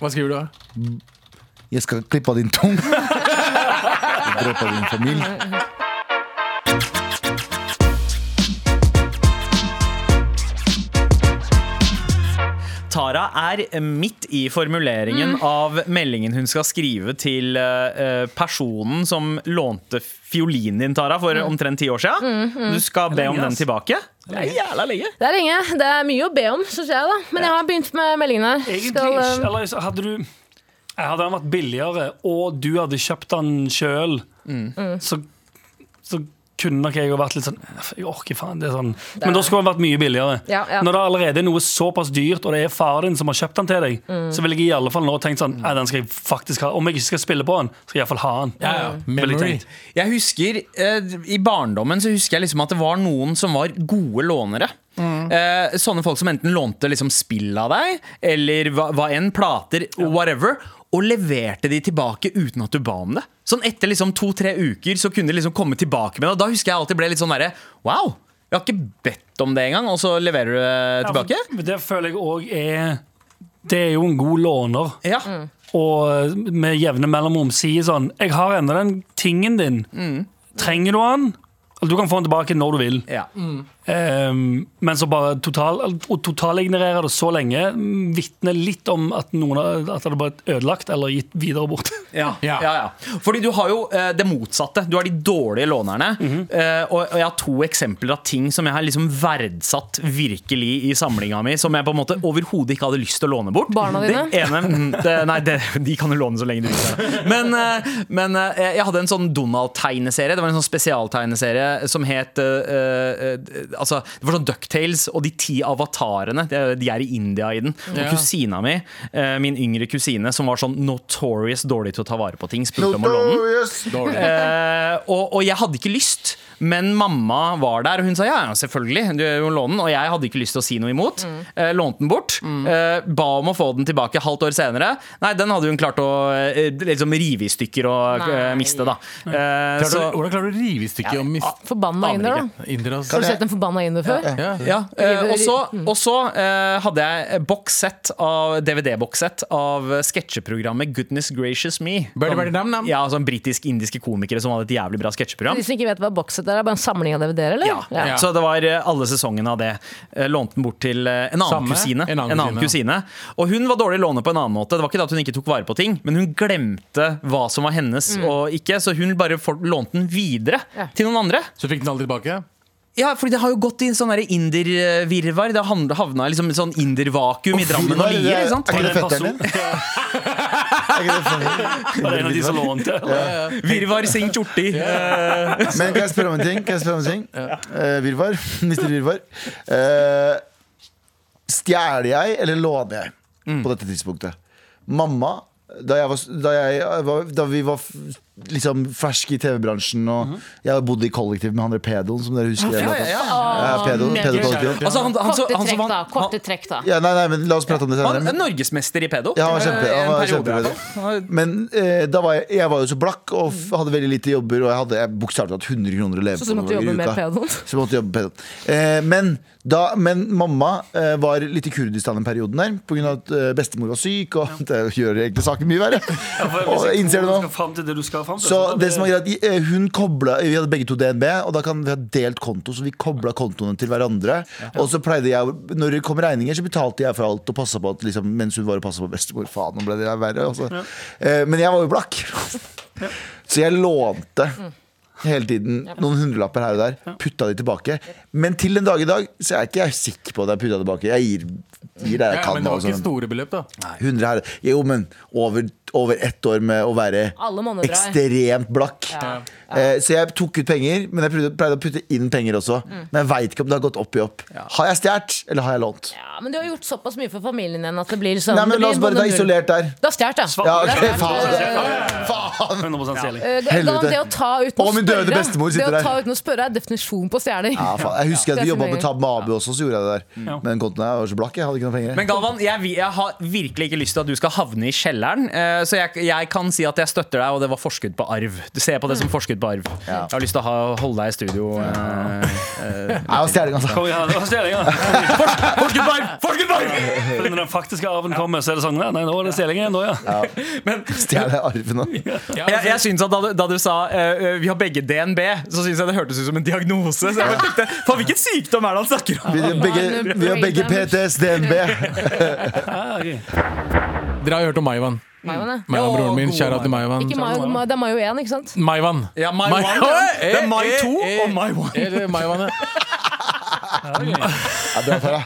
Hva skriver du da?
Jeg skal klippe av din tung. Drepe din familie.
Tara er eh, midt i formuleringen av meldingen hun skal skrive til eh, eh, personen som lånte fiolinen din, Tara, for omtrent ti år siden. Du skal be om
lenge,
den
ass.
tilbake. Det er jævla lenge.
Det er lenge. Det er mye å be om, syns jeg. da Men jeg har begynt med meldingen her.
Egentlig
Skal,
ikke.
eh,
Eller så hadde du jeg Hadde han vært billigere, og du hadde kjøpt den sjøl,
Mm.
så, så kunne nok jeg ha vært litt sånn Jeg orker faen. det er sånn Men da skulle han vært mye billigere.
Ja, ja.
Når det allerede er noe såpass dyrt, og det er faren din som har kjøpt den til deg, så ville jeg i alle fall nå tenkt sånn Nei, den skal jeg faktisk ha. Om jeg ikke skal spille på den, skal jeg iallfall ha den.
Ja, ja.
Veldig
Memory.
tenkt.
Jeg husker eh, I barndommen så husker jeg liksom at det var noen som var gode lånere. Eh, sånne folk som enten lånte liksom spill av deg, eller hva, hva enn, plater, whatever, og leverte de tilbake uten at du ba om det. Sånn etter liksom to-tre uker så kunne de liksom komme tilbake med det. Og da husker jeg alltid ble litt sånn derre Wow! Jeg har ikke bedt om det engang, og så leverer du det tilbake?
Ja, for det føler jeg òg er Det er jo en god låner.
Ja.
og med jevne mellomrom sier sånn 'Jeg har ennå den tingen din. Trenger du den?' Eller du kan få den tilbake når du vil.
Ja.
Ehm, men så bare total, å totalignorere det så lenge mm, vitner litt om at, noen, har- at det ble ødelagt eller gitt videre bort.
Ja, ja.
Ja.
ja, Fordi du har jo eh, det motsatte. Du har de dårlige lånerne. Eh, og, og jeg har to eksempler av ting som jeg har liksom verdsatt virkelig i samlinga mi, som jeg på en måte overhodet ikke hadde lyst til å låne bort.
Barna dine?
Det ene, mm, det, nei, det, de kan jo låne så lenge de vil. Men, eh, men eh, jeg hadde en sånn Donald-tegneserie. Det var en sånn spesialtegneserie som het eh, eh, Altså, det var sånn Ducktales og de ti avatarene. De er- De er i India i den. Og
Ja.
kusina mi, eh, min yngre kusine, som var sånn notorious dårlig til å ta vare på ting, spurte om å låne den.
Notorious!
Dårlig.
Eh, og, og jeg hadde ikke lyst, men mamma var der, og hun sa ja, ja selvfølgelig. Du må låne den. Og jeg hadde ikke lyst til å si noe imot. Eh, lånte den bort. Eh, ba om å få den tilbake halvt år senere. Nei, den hadde hun klart å eh, liksom rive i stykker og eh,
Nei.
miste, da. Eh,
Klarer
så,
du- Hvordan klarer du å rive i stykker og miste
Forbanna
Aner
inder,
ikke.
Ah. da.
indere? altså?
Har du sett en forbanna inder før?
Ja.
ja, eh,
Rive- mm.
og så, og så eh, hadde jeg bokssett av DVD-bokssett av sketsjeprogrammet Goodness Gracious Me.
Birdie, birdie, nam, nam.
Ja, sånn britisk-indiske komikere som hadde et jævlig bra sketsjeprogram.
De som ikke vet hva bokset er, er bare en samling av DVD-er, eller?
Ja. Så det var eh, alle sesongene av det. Eh, Lånte den bort til eh, en annen
Samme,
kusine. En annen kusine, Og hun var dårlig låne på en annen måte. Det var ikke det at hun ikke tok vare på ting, men hun glemte hva som var hennes og ikke, så hun bare for- lånte den videre
Mm. Ja.
til noen andre.
Så fikk den aldri tilbake?
Ja, fordi det har jo gått i en sånn der indervirvar. Det har hand- havna i liksom et sånn indervakuum i Drammen og
Firmaer, det
Lier.
Er
ikke sant?
er ikke det
Var det en <laughs>
fetteren din? Er ikke det fetteren din?
Var det en av de som lånte? eller?
Virvar Singh Tjorti. eh,
Men kan jeg spørre om en ting? Kan jeg spørre om en ting? Eh, virvar. <laughs> Mister Virvar. Eh, stjeler jeg, eller låner jeg,
Mm.
på dette tidspunktet? Mamma, da, jeg var, da, jeg, var- da vi var f- liksom ferske i TV-bransjen, og jeg bodde i kollektiv med han der pedoen, som dere husker.
Mhm. ja, ja, ja.
Ja, pedo, pedokollektiv.
Altså, han, han, så-
Korte
han, som
trekk, da.
vant-
Korte trekk, da.
Ja, nei, nei, men la oss prate om det senere.
han,
Men,
han, Norgesmester i pedo.
ja, han var kjempe,
eh,
han var
en periode, i hvert
kjempe
fall. Han var-
Men eh, da var jeg, jeg var jo så blakk og f- hadde veldig lite jobber, og jeg hadde jeg bokstavelig talt 100 kroner å leve
Så du
på
måtte jobbe
i
med
uka.
pedoen?
Så måtte jeg jobbe på pedo. Eh, men, da, men mamma eh, var litt i Kurdistan den perioden der, pga. at eh, bestemor var syk, og <laughs> det gjør egentlig saken mye verre.
For
og
hvis jeg
innser
tror
det
du
nå.
skal frem til det du skal frem til,
Så
da
det som
blir-
var greit, eh, hun koblet, Vi hadde begge to DNB, og da kan vi ha delt konto. Så vi kobla kontoene til hverandre. Og så pleide jeg Når det kom regninger, så betalte jeg for alt og passa på at liksom, mens hun var og passa på bestemor. Faen, nå ble det der verre. Altså. Eh, Men jeg var jo blakk. Så jeg lånte
Mm.
hele tiden noen hundrelapper her og der. Putta de tilbake. Men til den dag i dag så er ikke jeg sikker på at jeg putta tilbake. Jeg gir, gir det jeg
Ja,
kan.
men det var
altså.
ikke store beløp, da.
100 her. Jo, men over, over ett år med å være
Alle måneder drar.
ekstremt blakk.
Ja.
Eh, så jeg tok ut penger, men jeg prøvde, pleide å putte inn penger også.
Mm.
Men jeg veit ikke om det har gått opp i opp. Har jeg stjålet, eller har jeg lånt?
Ja, men du har gjort såpass mye for familien din at det blir liksom
Nei,
det
men La
blir
oss bare ta
null.
isolert der.
Du har stjålet, ja.
Ja,
Svart-
ok, faen.
Ja.
faen.
100 stjeling.
Eh,
Helvete.
Det å ta uten
Å, min døde bestemor
det
sitter
å
der.
ta uten å spørre er definisjon på stjerning.
Ja, faen. Jeg husker at
Det er
vi
så
jobba
mye.
på Tab Abu også, så gjorde jeg det
Ja.
der. Men kontoen jeg var så blakk, jeg hadde ikke noe penger.
Men Galvan, jeg, vi- jeg har virkelig ikke lyst til at du skal havne i kjelleren. eh, Så jeg, jeg kan si at jeg støtter deg, og det var forskudd på arv. Du ser på det som forskudd på arv. Jeg har lyst til å ha, holde deg i studio. eh,
Jeg var stjeling, altså.
Kom igjen, det var
<laughs>
stjeling, ja.
Forskudd på arv! Forskudd på arv!
For Når den faktiske arven kommer, så er det sånn ja, Nei, nå er det stjeling igjen, da, ja.
Men
Stjele arven og
jeg, jeg synes at da du, da du sa eh, vi har begge DNB, så syns jeg det hørtes ut som en diagnose. Så jeg bare tenkte, faen hvilken sykdom er det han snakker om?
Vi har begge, vi har begge PTS, DNB.
ja ok.
Dere har jo hørt om Maivan.
Maivan, ja.
Maivan,
Ja,
broren min.
gode
Kjære til Maivan.
Ikke Mayo, Mayo- det er Mayo 1, ikke sant?
Maivan.
Ja, my
Mai-
one.
Oi,
Det er
eh,
my
eh,
two
eh,
og my one.
eh, det er Maivan, ja.
Ja, bra, Tara.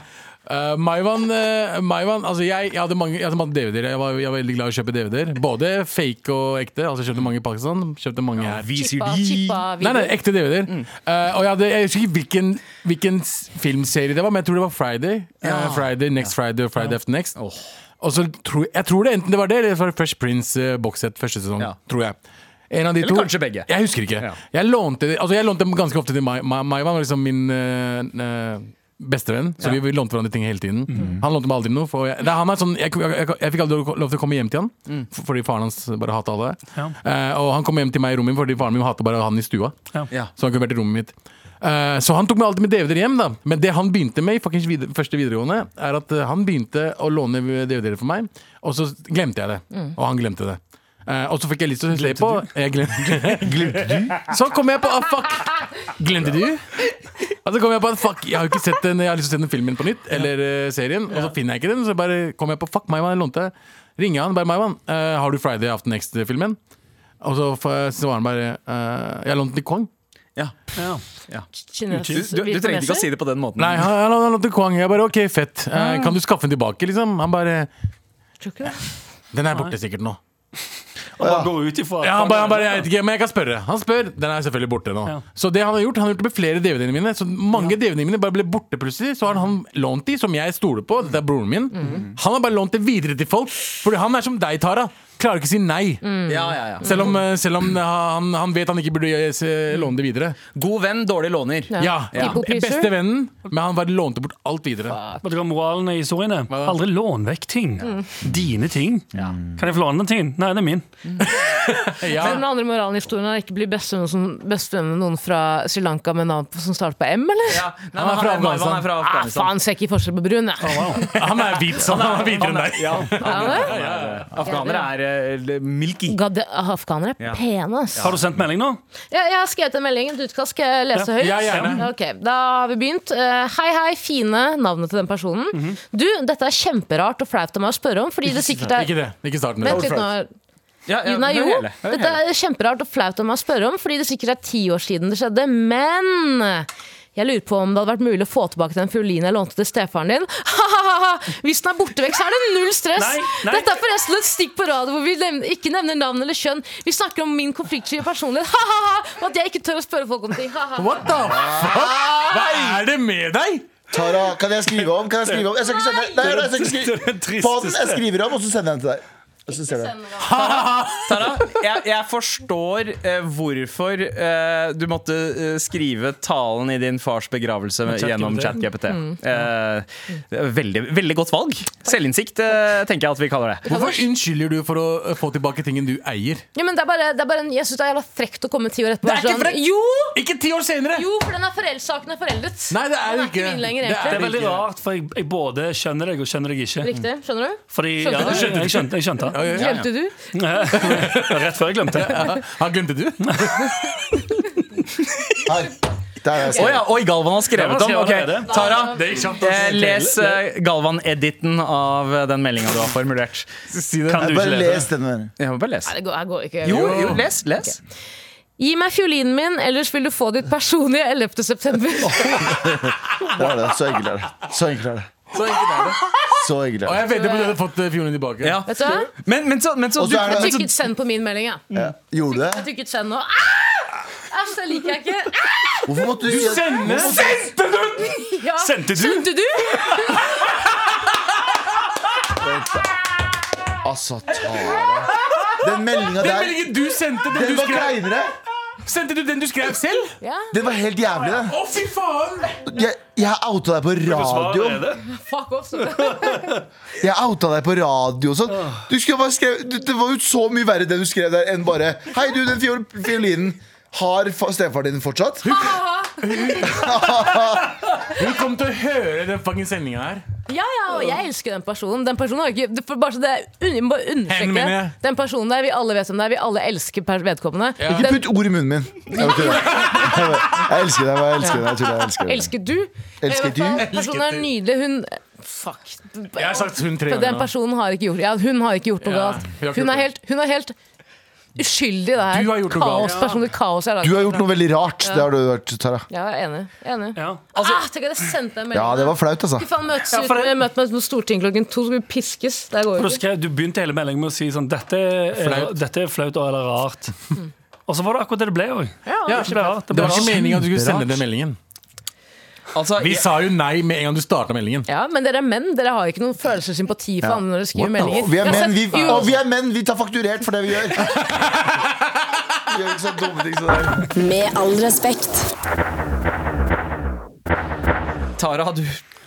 Eh, Maivan, eh, Maivan altså jeg, jeg hadde mange, jeg hadde mange DVD-er. Jeg var, jeg var veldig glad i å kjøpe DVD-er. Både fake og ekte. Altså jeg Kjøpte mange i Pakistan, kjøpte mange her.
Chippa, chippa
Nei, nei,
video.
ekte DVD-er.
Mm.
Eh, og jeg, hadde, jeg husker ikke hvilken, hvilken s- filmserie det var, men jeg tror det var Friday. Eh, Friday, Next Friday og Friday After Next. Og så tror jeg, jeg tror det enten det var det, eller det var Fresh Prince uh, bokssett første sesong.
Ja.
Tror jeg. En av de
Eller
to.
kanskje begge.
Jeg husker ikke.
Ja.
Jeg lånte det- altså jeg lånte dem ganske ofte til Mai- Ma- Maivan, var liksom min eh, eh, bestevenn. Så vi, vi lånte hverandre ting hele tiden.
Mhm.
Han lånte meg aldri noe. For jeg, det, han er sånn, jeg, jeg, jeg, jeg fikk aldri lov til å komme hjem til han, f- fordi faren hans bare hata alle.
Mm. Ja.
Eh, og han kom hjem til meg i rommet mitt, fordi faren min hata bare han i stua.
Ja.
Ja.
Så han kunne vært i rommet mitt. Eh, så han tok med alltid med DVD-er hjem, da. Men det han begynte med i fuckings vide første videregående, er at eh, han begynte å låne DVD-er for meg, og så glemte jeg det.
Mm.
Og han glemte det. Eh, og så fikk jeg lyst til å se på jeg glemte, glemte du? Så kom jeg på ah, fuck! Glemte du? Og så kom jeg på at fuck, jeg har jo ikke sett den, jeg har lyst til å se den filmen på nytt, eller eh, serien, og så finner jeg ikke den. Så bare kom jeg på fuck, Maivan, jeg lånte. Ringer han, bare Maivan, eh, har du Friday After Next-filmen? Og så får- så var han bare eh, Jeg lånte den til Kong.
Ja.
Ja.
Du,
Kinesisk
du, du trengte ikke å si det på den måten.
Nei, han, han, han lånte Kwang. Jeg bare OK, fett. Eh, kan du skaffe den tilbake, liksom? Han bare Den er borte sikkert nå.
Og bare går ut ifra at
Ja, han bare, han bare, jeg vet ikke, men jeg kan spørre. Han spør. Den er selvfølgelig borte nå.
Ja.
Så det han har gjort, han har gjort det med flere DVD-ene mine. Så mange DVD-ene mine bare ble borte plutselig. Så har han lånt de, som jeg stoler på. Dette er broren min. Han har bare lånt det videre til folk. Fordi han er som deg, Tara. Klarer ikke å si nei.
Ja, ja, ja.
Selv om, eh, selv om han, han vet han ikke burde eh, se- låne det videre.
God venn, dårlig låner.
Ja.
Ja. People pleaser.
Beste vennen, men han bare lånte bort alt videre.
Vet du hva moralen i historien er?
da?
Aldri lån vekk ting. Dine ting. Kan jeg få låne den tingen? Nei, det er min.
Ja.
Men den andre moralen i historien er ikke bli bestevenn med noen som- bestevenn med noen fra Sri Lanka med navn på- som starter på M, eller?
Ja. Nei,
Han er
men
fra
han, er,
Afghanistan.
han er fra
Ah,
Afghanistan.
faen, ser ikke forskjell på brun, jeg.
Han er hvit, så han er hvitere enn deg.
<laughs> Ja,
Er det?
afghanere er uh, milky.
Gadde, afghanere er
Ja.
pene, ass.
Har du sendt melding nå?
Ja, jeg har skrevet en melding. Et utkast skal jeg lese høyt.
Ja, gjerne.
Ok, Da har vi begynt. Eh, hei, hei, fine navnet til den personen. Du, dette er kjemperart og flaut av meg å spørre om, fordi det sikkert
Mhm. Ikke
er
det. Ikke starten.
Vent litt nå.
Ja, ja,
Nei,
hør
jo.
hele, hør
Dette
hele.
er kjemperart og flaut av meg å spørre om, fordi det sikkert er ti år siden det skjedde. Men jeg lurer på om det hadde vært mulig å få tilbake den fiolinen jeg lånte til stefaren din. Ha-ha-ha! Hvis den er borte vekk, så er det null stress!
Nei, nei.
Dette er forresten et stikk på radio hvor vi nevner, ikke nevner navn eller kjønn. Vi snakker om min konfliktsky personlighet. Ha-ha-ha! Og at jeg ikke tør å spørre folk om ting. Ha-ha.
What the fuck? Hva er det med deg?
Tara, kan jeg skrive om? Kan jeg skrive om? Jeg skal ikke sende Nei, jeg skal ikke skrive
<laughs> den
På den, jeg skriver om, og så sender jeg den til deg. Og så ser du.
Tara, jeg, jeg forstår eh, hvorfor eh, du måtte eh, skrive talen i din fars begravelse med-
ChatGPT.
gjennom ChatGPT.
Mm.
Eh, det er veldig, veldig godt valg. Selvinnsikt, eh, tenker jeg at vi kaller det.
Hvorfor unnskylder du for å eh, få tilbake tingen du eier?
Ja, men det er bare, det er bare en, jeg synes det er jævla frekt å komme ti år etterpå.
Det er
og
ikke
være sånn,
frekt!
Jo,
Ikke ti år senere!
jo, for den er foreld, saken er foreldet.
Nei, det er
Den
det
er ikke
ikke.
min lenger,
Det
Det
er
er
det
veldig
ikke.
rart, for jeg, jeg både skjønner deg og skjønner deg ikke.
Riktig, skjønner du?
Fordi, ja, jeg skjønte, jeg skjønte, jeg skjønte.
Ja, ja, ja.
Glemte du?
<laughs> Rett før jeg glemte.
Han Ah, glemte
<laughs>
du?
Her. Der er jeg
Oi,
skrevet.
ja, oi, Galvan har skrevet om. Ok,
Galvan skrev
Tara,
Det gikk kjapt.
eh, les eh, Galvan-editen av eh, den meldinga du har formulert.
Si det.
Kan du ikke
Bare
lese?
les den der.
Jeg må bare lese.
Nei, det går, jeg går ikke.
Jo, jo, les. les
Gi meg fiolinen min, ellers vil du få ditt personlige 11. september.
Det er det. Så enkelt er det. Så enkelt er det.
Så enkelt er det.
Så enkelt
Og
er det.
jeg vedder på at du hadde fått eh, fiolen tilbake.
ja.
Vet du hva?
Men, men så, men så
Og så
du,
er det-
Jeg
men så
trykket send på min melding, jeg.
Ja. Gjorde du
Jeg
det?
trykket send nå. Ah! Æsj, det liker jeg ikke.
Hvorfor måtte du si at-
Ja.
Sendte du?
Sendte du?
Altså, Tara. Den meldinga
Den
der,
meldingen du sendte, den
den
du
var
skrev,
kleinere.
sendte du den du skrev selv?
Ja.
Den var helt jævlig, den.
Å, fy faen!
Jeg, jeg outa deg på radio.
Fuck off. så. <laughs>
Jeg outa deg på radio og sånn. Du skulle bare skrev, du, det var jo så mye verre det du skrev der, enn bare Hei, du, den fiol, fiolinen. Har fa- stefaren din fortsatt?
Hun kom til å høre den fucking sendinga her.
Ja, ja, og jeg elsker den personen. Den personen har jo ikke det- for Bare så det er un- bare
Hen, mener jeg.
understreke. Den personen der, vi alle vet hvem det er. Vi alle elsker per- vedkommende.
Ikke
Den
putt ord i munnen min. Jeg, vet ikke det. jeg elsker deg. Jeg elsker deg. Jeg tror jeg elsker deg.
elsker du.
Elsker du?
Eh, Personen er
Elsket du.
nydelig. Hun Fuck.
Jeg har sagt hun tre
For den
ganger nå.
personen har ikke gjort, ja, hun har ikke gjort noe
Ja, hun har
galt.
ikke
Hun
gjort
er helt, hun er helt uskyldig i det her.
Du har gjort noe galt.
kaos, Personlig kaos jeg har
Du
laget.
har gjort noe veldig rart. Det har du hørt, Tara.
Ja, jeg er enig. Jeg er enig.
Ja.
ah, tenk at jeg sendte deg en melding.
Altså- Ja, det var flaut, altså.
Fy faen, møtes
Ja, for
ut,
det-
møt meg på Stortinget klokken to, så skal vi piskes. Der går
For
vi
du,
ikke.
skrev, du begynte hele meldingen med å si sånn Dette er
Flaut.
dette er flaut og eller rart. Og så var det akkurat det det ble òg.
Mm. Ja,
Det ble rart.
Det
Det ble
var ikke
rart.
meninga at du skulle sende den meldingen.
altså,
Vi sa jo nei med en gang du starta meldingen.
ja, men dere er menn. Dere har ikke noen følelse og sympati for
Ja.
andre når dere skriver
What the-
meldinger.
Vi er
Jeg har
menn, vi,
sett- jo,
og vi er menn. Vi tar fakturert for det vi
<laughs>
gjør. Vi gjør ikke sånne dumme ting som det. her.
Med all respekt.
Tara, du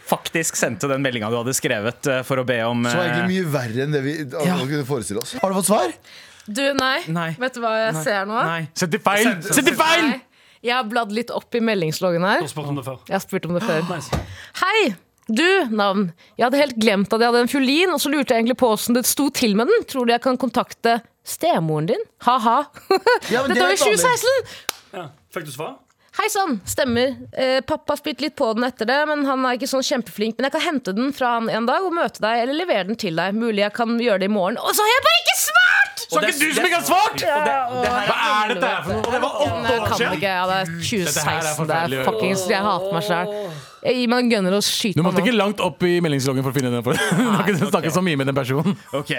faktisk sendte den meldinga du hadde skrevet eh, for å be om
Det var
eh,
egentlig mye verre enn det vi kunne forestille oss. Har du fått svar?
Du, nei.
Nei.
Vet du hva jeg ser nå?
Nei.
Sett i feil! Sett i feil!
Nei. Jeg har bladd litt opp i meldingsloggen her.
Du har spurt om det før.
Jeg har spurt om det før.
Nice.
Hei! Du, navn. Jeg hadde helt glemt at jeg hadde en fiolin, og så lurte jeg egentlig på åssen det sto til med den. Tror du jeg kan kontakte stemoren din? Ha-ha.
Ja,
<laughs>
men
Dette var
det
i
er vanlig.
2016!
Ja. Fikk du svar?
Hei sann, stemmer. Eh, pappa spytt litt på den etter det, men han er ikke sånn kjempeflink. Men jeg kan hente den fra han en dag og møte deg, eller levere den til deg. Mulig jeg kan gjøre det i morgen. Og så har jeg bare ikke svart!
Så ikke du som ikke har svart!
Hva er dette her for noe?
Det var åtte
Jeg
år
kan
siden!
ikke. Ja, det er
Dette her
2016.
er
Det
forferdelig.
er fuckings Jeg hater meg sjæl. Gi meg en gunner og skyt
Du
meg
måtte
nå.
ikke langt opp i meldingsloggen for å finne den. For. <laughs> Du har ikke snakket så mye med den personen.
Ok,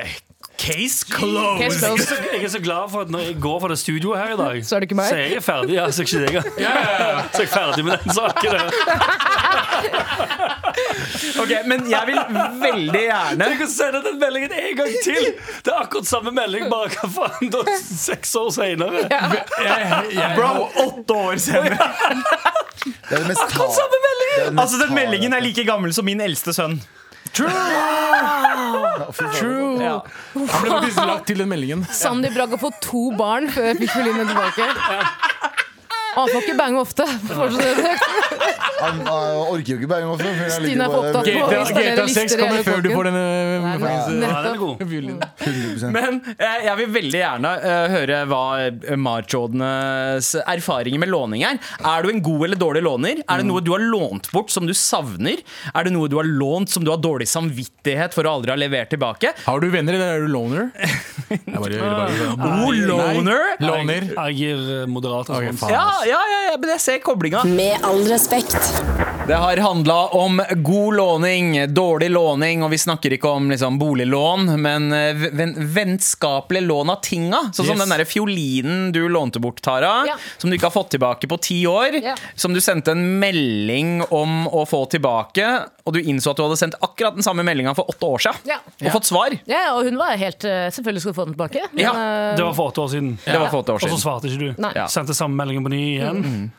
case closed.
Case closed.
Så Jeg er så glad for at når jeg går fra det studioet her i dag,
Så er det ikke meg.
Så er jeg ferdig. Ja, så er ikke deg, ja. Så er jeg ferdig med den saken. der.
Ok, Men jeg vil veldig gjerne
Tenk å sende den meldingen en gang til! Det er akkurat samme melding, bare hva faen, da seks år senere.
Bro, åtte år senere.
Det er det mest ta-
Samme meldingen!
det er det mest
Altså, Den
ta-
meldingen er like gammel som min eldste sønn.
True.
Ja.
Han ble faktisk lagt til den
<laughs>
meldingen.
Sandy Bragg har fått to barn før jeg fikk fiolinen tilbake. Og han får ikke bange ofte. Fortsatt.
Han han orker jo ikke bæring også. for jeg ligger
Stine er
bare-
opptatt på-
GTA,
Hvis det er
GTA 6
lister i
kommer
hele
før du
flokken.
får denne
Nei, nei.
fuckings,
Ja, den er god.
eh, violen.
100%
Men eh, jeg vil veldig gjerne eh, høre hva eh, Marjodenes erfaringer med låning er. Er du en god eller dårlig låner? Er det noe du har lånt bort som du savner? Er det noe du har lånt som du har dårlig samvittighet for å aldri ha levert tilbake?
Har du venner, eller er du loner?
<laughs>
Jeg bare, jeg bare,
Oh, loner!
loner.
Jeg gir eh, moderat.
Ok,
respons.
faen.
Ja, ja, ja, ja, men jeg ser koblinga.
Med all respekt.
Det har handla om god låning, dårlig låning, og vi snakker ikke om liksom, boliglån, men eh, ven vennskapelige lån av tinga. Sånn som
Yes.
den der fiolinen du lånte bort, Tara,
Ja.
som du ikke har fått tilbake på ti år.
Ja.
Som du sendte en melding om å få tilbake, og du innså at du hadde sendt akkurat den samme meldinga for åtte år siden,
Ja.
og fått svar.
Ja, og hun var helt eh, Selvfølgelig skulle få den tilbake. Men,
Ja,
eh,
Det var for åtte år siden.
Det var for åtte år
Og så
siden.
svarte ikke du.
Nei. Ja.
Sendte samme melding på ny igjen.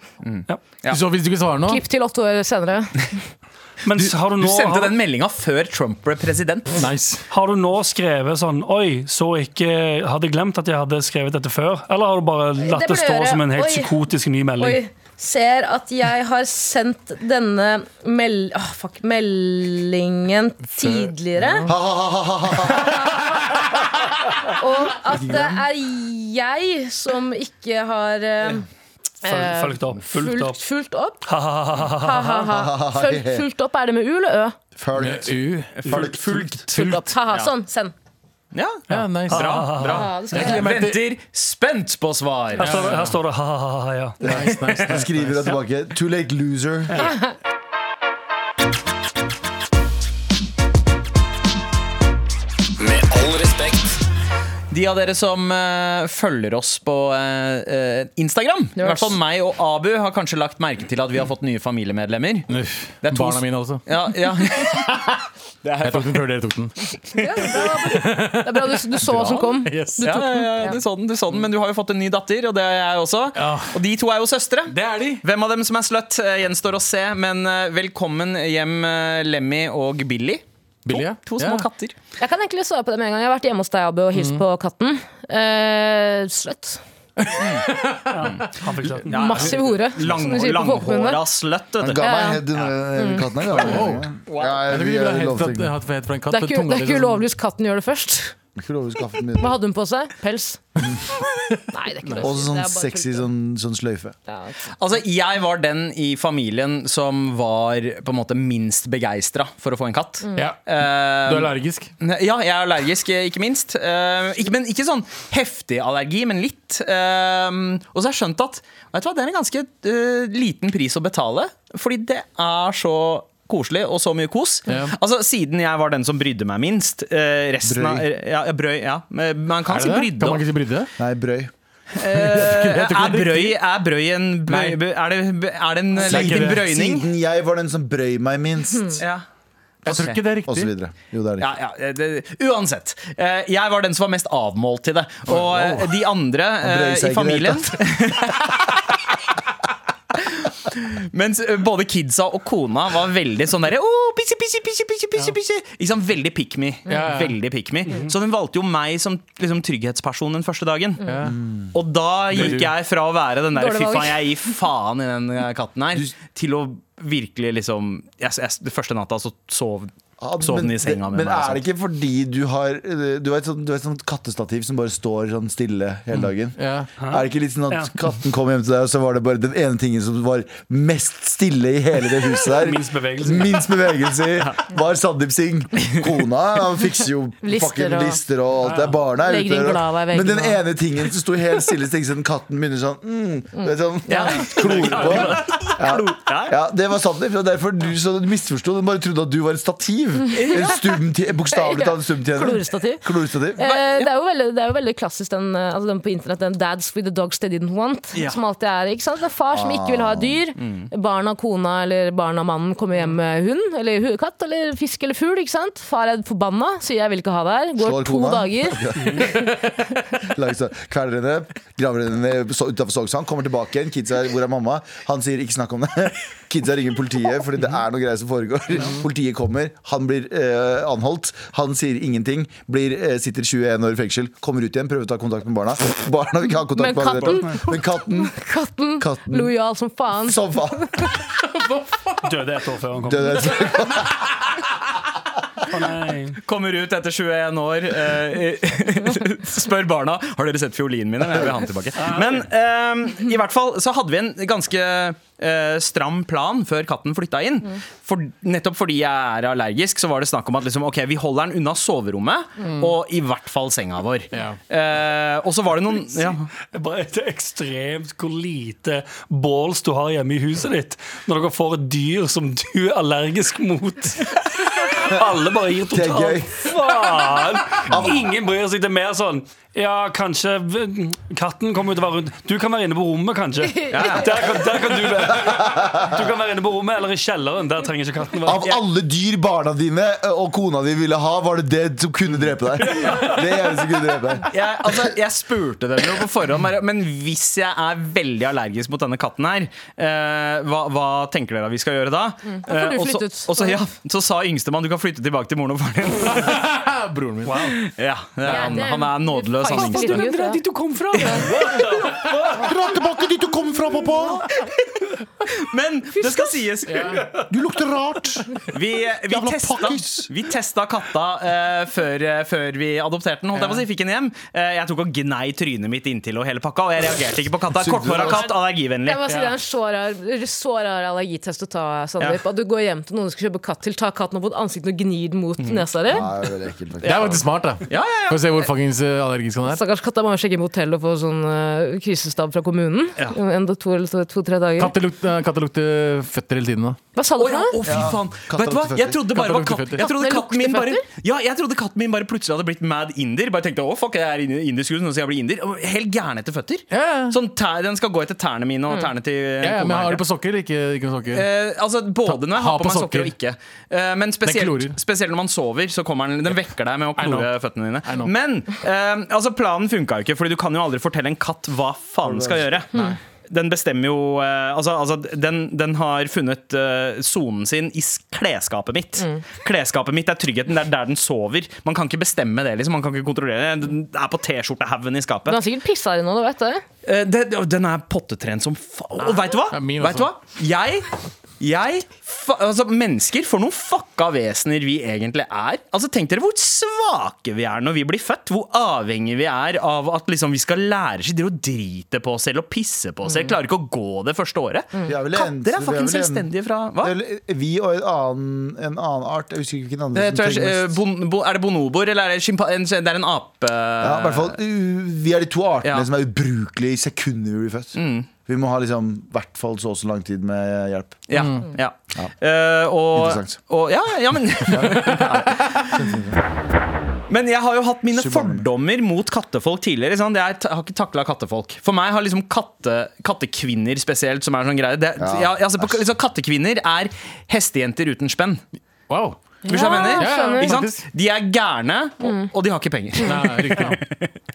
Ja.
Så hvis du ikke svarer nå
Klipp til åtte år senere.
Men har du
Du
nå,
sendte
har,
den meldinga før Trump ble president.
Nice.
har du nå skrevet sånn Oi, så ikke Hadde jeg glemt at jeg hadde skrevet dette før? Eller har du bare latt
Det
det stå
ble-
som en helt
Oi.
psykotisk ny melding?
Oi, ser at jeg har sendt denne mel åh, fuck, meldingen tidligere. Og at det er jeg som ikke har eh,
Føl- Fulgt opp. Fulgt
fulgt,
opp.
fulgt opp. Ha-ha-ha. Fulgt, fulgt opp, er det med U eller Ø?
Fulgt.
U.
Fulgt. Fulgt.
Fulgt opp. Ha-ha, sånn, send.
Ja,
Ja, nice.
Bra. bra.
Ja, det skal jeg.
Jeg venter spent på svar.
Her står, det- her står det ha-ha-ha, ja.
nice, nice, nice.
Skriver deg tilbake. Too late loser.
Med all respekt.
De av dere som eh, følger oss på eh, eh, Instagram, i
Nerds.
hvert fall meg og Abu, har kanskje lagt merke til at vi har fått nye familiemedlemmer.
Uff.
Det er to
Barna
s-
mine, altså.
Ja, ja. Det er
Jeg tok den før dere tok
<laughs>
den.
Ja, Det er bra du, du så hva som kom.
Yes.
ja, ja, ja, <laughs> du så den, du så den, men du har jo fått en ny datter, og det er jeg også.
Ja.
Og de to er jo søstre.
Det er de.
Hvem av dem som er slutt, eh, gjenstår å se, men eh, velkommen hjem, eh, Lemmy og Billy.
Billy, ja.
To små
Ja.
katter.
Jeg kan egentlig svare på det med en gang. Jeg har vært hjemme hos deg, Abu, og hilst på katten. Eh, sløtt.
Han fikk slett den.
Massiv hore.
Lang,
som de sier på folkemunne.
langhåra slutt,
Han
vet du.
ga meg
Ja.
head under katten her. da. Ja,
Jeg tror
vi
ikke
gjør
vi
lovting.
ville hatt hett fra en katt.
Det er ikke,
tunga
det er ikke
liksom-
ulovlig hvis katten gjør det først.
Ikke lov å skaffe den min.
Hva hadde hun på seg? Pels. Nei, det er ikke lov.
Og
å si.
sånn
Det er bare
sexy
tull.
sånn, sånn sløyfe.
Ja, ikke sant.
Altså, jeg var den i familien som var på en måte minst begeistra for å få en katt.
Ja.
Eh,
Du er allergisk.
Ja, jeg er allergisk, eh, ikke minst. Eh, ikke, men ikke sånn heftig allergi, men litt. Eh, og så har jeg skjønt at vet du hva, det er en ganske eh, liten pris å betale, fordi det er så koselig og så mye kos.
Ja.
Altså, Siden jeg var den som brydde meg minst. eh, resten av
Brøy.
ja, ja, brøy. Ja. Men Man kan
Er
si
det det?
brydde.
Kan man ikke si brydde?
Nei, brøy.
Eh,
Jeg tror ikke
er,
det er
brøy, er brøy en brøy,
Nei.
Er det, er det en
er ikke
liten
det.
brøyning?
Siden jeg var den som brøy meg minst,
Ja.
Jeg tror ikke det er
og så
riktig.
videre. Jo, det er det.
Ja, ja, eh, det, uansett. Eh, jeg var den som var mest avmålt til det. Og eh, de andre
Han brøy
eh,
seg
i
ikke i det hele
familien <laughs> Mens eh, både kidsa og kona var veldig sånn derre oh, pissi, pissi, pissi, pissi, pissi, pissi. Liksom veldig pick me.
Ja, ja.
Veldig pick me. Så den valgte jo meg som liksom, trygghetsperson den første dagen. Og da gikk jeg fra å være den der
Dårlig
fy
valg.
faen, jeg gir faen i den eh, katten her, til å virkelig liksom jeg, jeg, Den første natta så sov
Ja,
Sov den
men-
i senga med
Men
meg,
er det ikke fordi du har eh, Du har et sånt, du har et sånt kattestativ som bare står sånn stille hele dagen?
Ja.
Er det ikke litt sånn
Ja.
at katten kom hjem til deg, og så var det bare den ene tingen som var mest stille i hele det huset der?
Minst bevegelse.
Minst bevegelse i, var Sandeep Singh. Kona ja, fikser jo
Lister
fucking
og-
lister og alt det. Barna er
Legger
ute.
inn
og-
glava i
Men
veggen
den
og-
ene tingen som sto helt stille, så tenkte jeg sånn, katten begynner sånn mm, du vet sånn,
Ja.
Klor på.
Ja.
Ja, det var Sandeep, og derfor du, så du misforsto. Du bare trodde at du var et stativ. En stum- Bokstavelig talt en stumtjener.
Klorestativ.
Klorestativ.
Eh, det, er jo veldig, det er jo veldig klassisk den, eh, altså den på internett, den 'Dads with the dogs they didn't want'.
Ja. Ah, mm.
Som alltid er ikke sant? Det er far som ikke vil ha dyr. Barna, kona eller barna, mannen kommer hjem med hund eller hu- katt eller fisk eller fugl. Ikke sant? Far er forbanna, sier 'jeg vil ikke ha det her'. Går
Slår
to
kona.
dager.
<laughs>
Lager så- Kveler henne, graver henne utafor Sognsvann, kommer tilbake igjen. Kidsa er 'hvor er mamma?' Han sier 'ikke snakk om det'. Kidsa ringer politiet fordi det er noe greier som foregår. Politiet kommer, han blir eh, anholdt. Han sier ingenting, blir, eh, sitter 21 år i fengsel, kommer ut igjen, prøver å ta kontakt med barna. Barna vil ikke ha kontakt
Men
med barna. Men katten
Katten,
Katten.
lojal som faen.
Som faen!
Døde et år før han kom.
Døde.
Å, nei.
Kommer ut etter 21 år, eh, <laughs> spør barna Har dere sett fiolinen min. eller? Jeg vil ha den tilbake. Men eh, i hvert fall så hadde vi en ganske eh, stram plan før katten flytta inn.
Mm.
For, nettopp fordi jeg er allergisk, så var det snakk om at liksom, ok, vi holder den unna soverommet
Mm.
og i hvert fall senga vår.
Ja.
Eh, og så var det noen ja.
Det er Bare det er ekstremt hvor lite balls du har hjemme i huset ditt når dere får et dyr som du er allergisk mot. Alle bare gir
Det er gøy.
totalt faen. Ingen bryr seg. Det er mer sånn Ja, kanskje v- katten kommer til å være rundt Du kan være inne på rommet, kanskje. Der, kan, der kan du være. Du kan være inne på rommet eller i kjelleren. Der trenger ikke katten
Av
være.
alle dyr barna dine og kona di ville ha, var det det som kunne drepe
<laughs>
deg. Det eneste som kunne drepe deg.
jeg, altså, jeg spurte dem jo på forhånd, bare, men hvis jeg er veldig allergisk mot denne katten her, eh, hva, hva tenker dere at vi skal gjøre da?
Mm. Da får
Eh,
du
og så-
flytte ut.
og så, ja, så sa yngstemann du kan flytte tilbake til moren og faren din.
<laughs> Broren min.
Ja, det er han,
det er-
han er nådeløs, han
Faktisk
yngste.
litt gutt, ja.
dit du kom fra?
Dra tilbake dit du kom fra, pappa!
Men det skal sies.
Du lukter rart.
Vi, vi,
Jævla
testa,
pakkis.
vi testa katta eh, før, eh, før vi adopterte den. Holdt jeg på å si, fikk den hjem Eh, Jeg tok og gnei trynet mitt inntil og hele pakka, og jeg reagerte ikke på katta. Korthåra katt, allergivennlig.
Jeg må si Det er en så rar, så rar allergitest å ta, Sandeep.
Ja.
At du går hjem til noen som skal kjøpe katt til, tar katten opp mot ansiktet og gnir den mot
Mm.
nesa di.
Ah,
Ja, det er veldig ekkelt,
Det er
faktisk.
faktisk smart, da.
Ja, ja, ja.
For å se hvor fuckings eh, allergisk han er.
Stakkars katta må jo sjekke inn på hotell og få sånn eh, krisestab fra kommunen.
Ja.
En, to eller to- to-tre dager.
Katter lukter, katter lukter føtter hele tiden. da
Hva sa
Å
du for
ja,
noe?
å, fy faen.
Katta
Vet du hva?
lukter
Jeg
føtter.
trodde bare det var
Katta lukter
katt.
føtter.
Jeg trodde
Kattene
katten min
lukter
bare Ja, jeg trodde katten min bare plutselig hadde blitt mad inder. Bare tenkte å fuck, jeg er indi- indisk hund, nå skal jeg bli inder. Og Helt gæren etter føtter.
Ja, ja.
Sånn tær, Den skal gå etter tærne mine og tærne til eh,
Ja, ja, men
kona
Har
her.
du på sokker eller ikke, ikke med sokker?
Eh, altså Både når jeg har på, meg sokker og ikke. Eh, men spesielt,
klorer.
spesielt når man sover, så kommer den, den vekker deg med å
I know.
klore føttene
I know.
dine. Men eh, altså planen funka jo ikke, Fordi du kan jo aldri fortelle en katt hva faen den skal gjøre. Den bestemmer jo eh, Altså, altså den, den har funnet eh, sonen sin i s- klesskapet mitt.
Mm.
Klesskapet mitt er tryggheten. Det er der den sover. Man kan ikke bestemme det. liksom Man kan ikke kontrollere det. Den er på T-skjortehaugen i skapet.
Du har sikkert pissa i noe, du vet det.
Eh, det, den er pottetrent som faen. Og veit du hva?
Ja, min
Vet du hva?
også.
Jeg, jeg fa altså, Mennesker, for noen fucka vesener vi egentlig er. Altså, Tenk dere hvor svake vi er når vi blir født. Hvor avhengig vi er av at liksom, vi skal lære seg til å drite på oss selv og pisse på oss selv. Klarer ikke å gå det første året.
Vi er vel eneste-
Katter
vi
er
er
fucking
vel en-
selvstendige fra Hva?
Det er vel Vi og en annen, en annen art. Jeg husker ikke hvilken andre
Eh,
som
tror jeg,
trenger
eh,
mest.
bon, bo, er det bonoboer, eller er det, skimpa- en, det er en ape?
ja, i hvert fall, uh, vi er de to artene
Ja. Mm.
som er ubrukelige i sekundet vi blir født. Vi må ha liksom, i hvert fall så og så lang tid med hjelp.
Ja, ja. Eh, og,
Interessant.
og, ja, <laughs> ja, men Men jeg har jo hatt mine
Subhanallah.
fordommer mot kattefolk tidligere. Ikke sant? Jeg t- har ikke takla kattefolk. For meg har liksom katte, kattekvinner spesielt som er sånn greie det,
Ja,
ja, altså, på- liksom, Kattekvinner er hestejenter uten spenn.
Wow.
Hvis jeg mener.
Ja, ja,
skjønner.
Ikke sant?
faktisk.
De er gærne, og, og de har ikke penger.
Nei, riktig.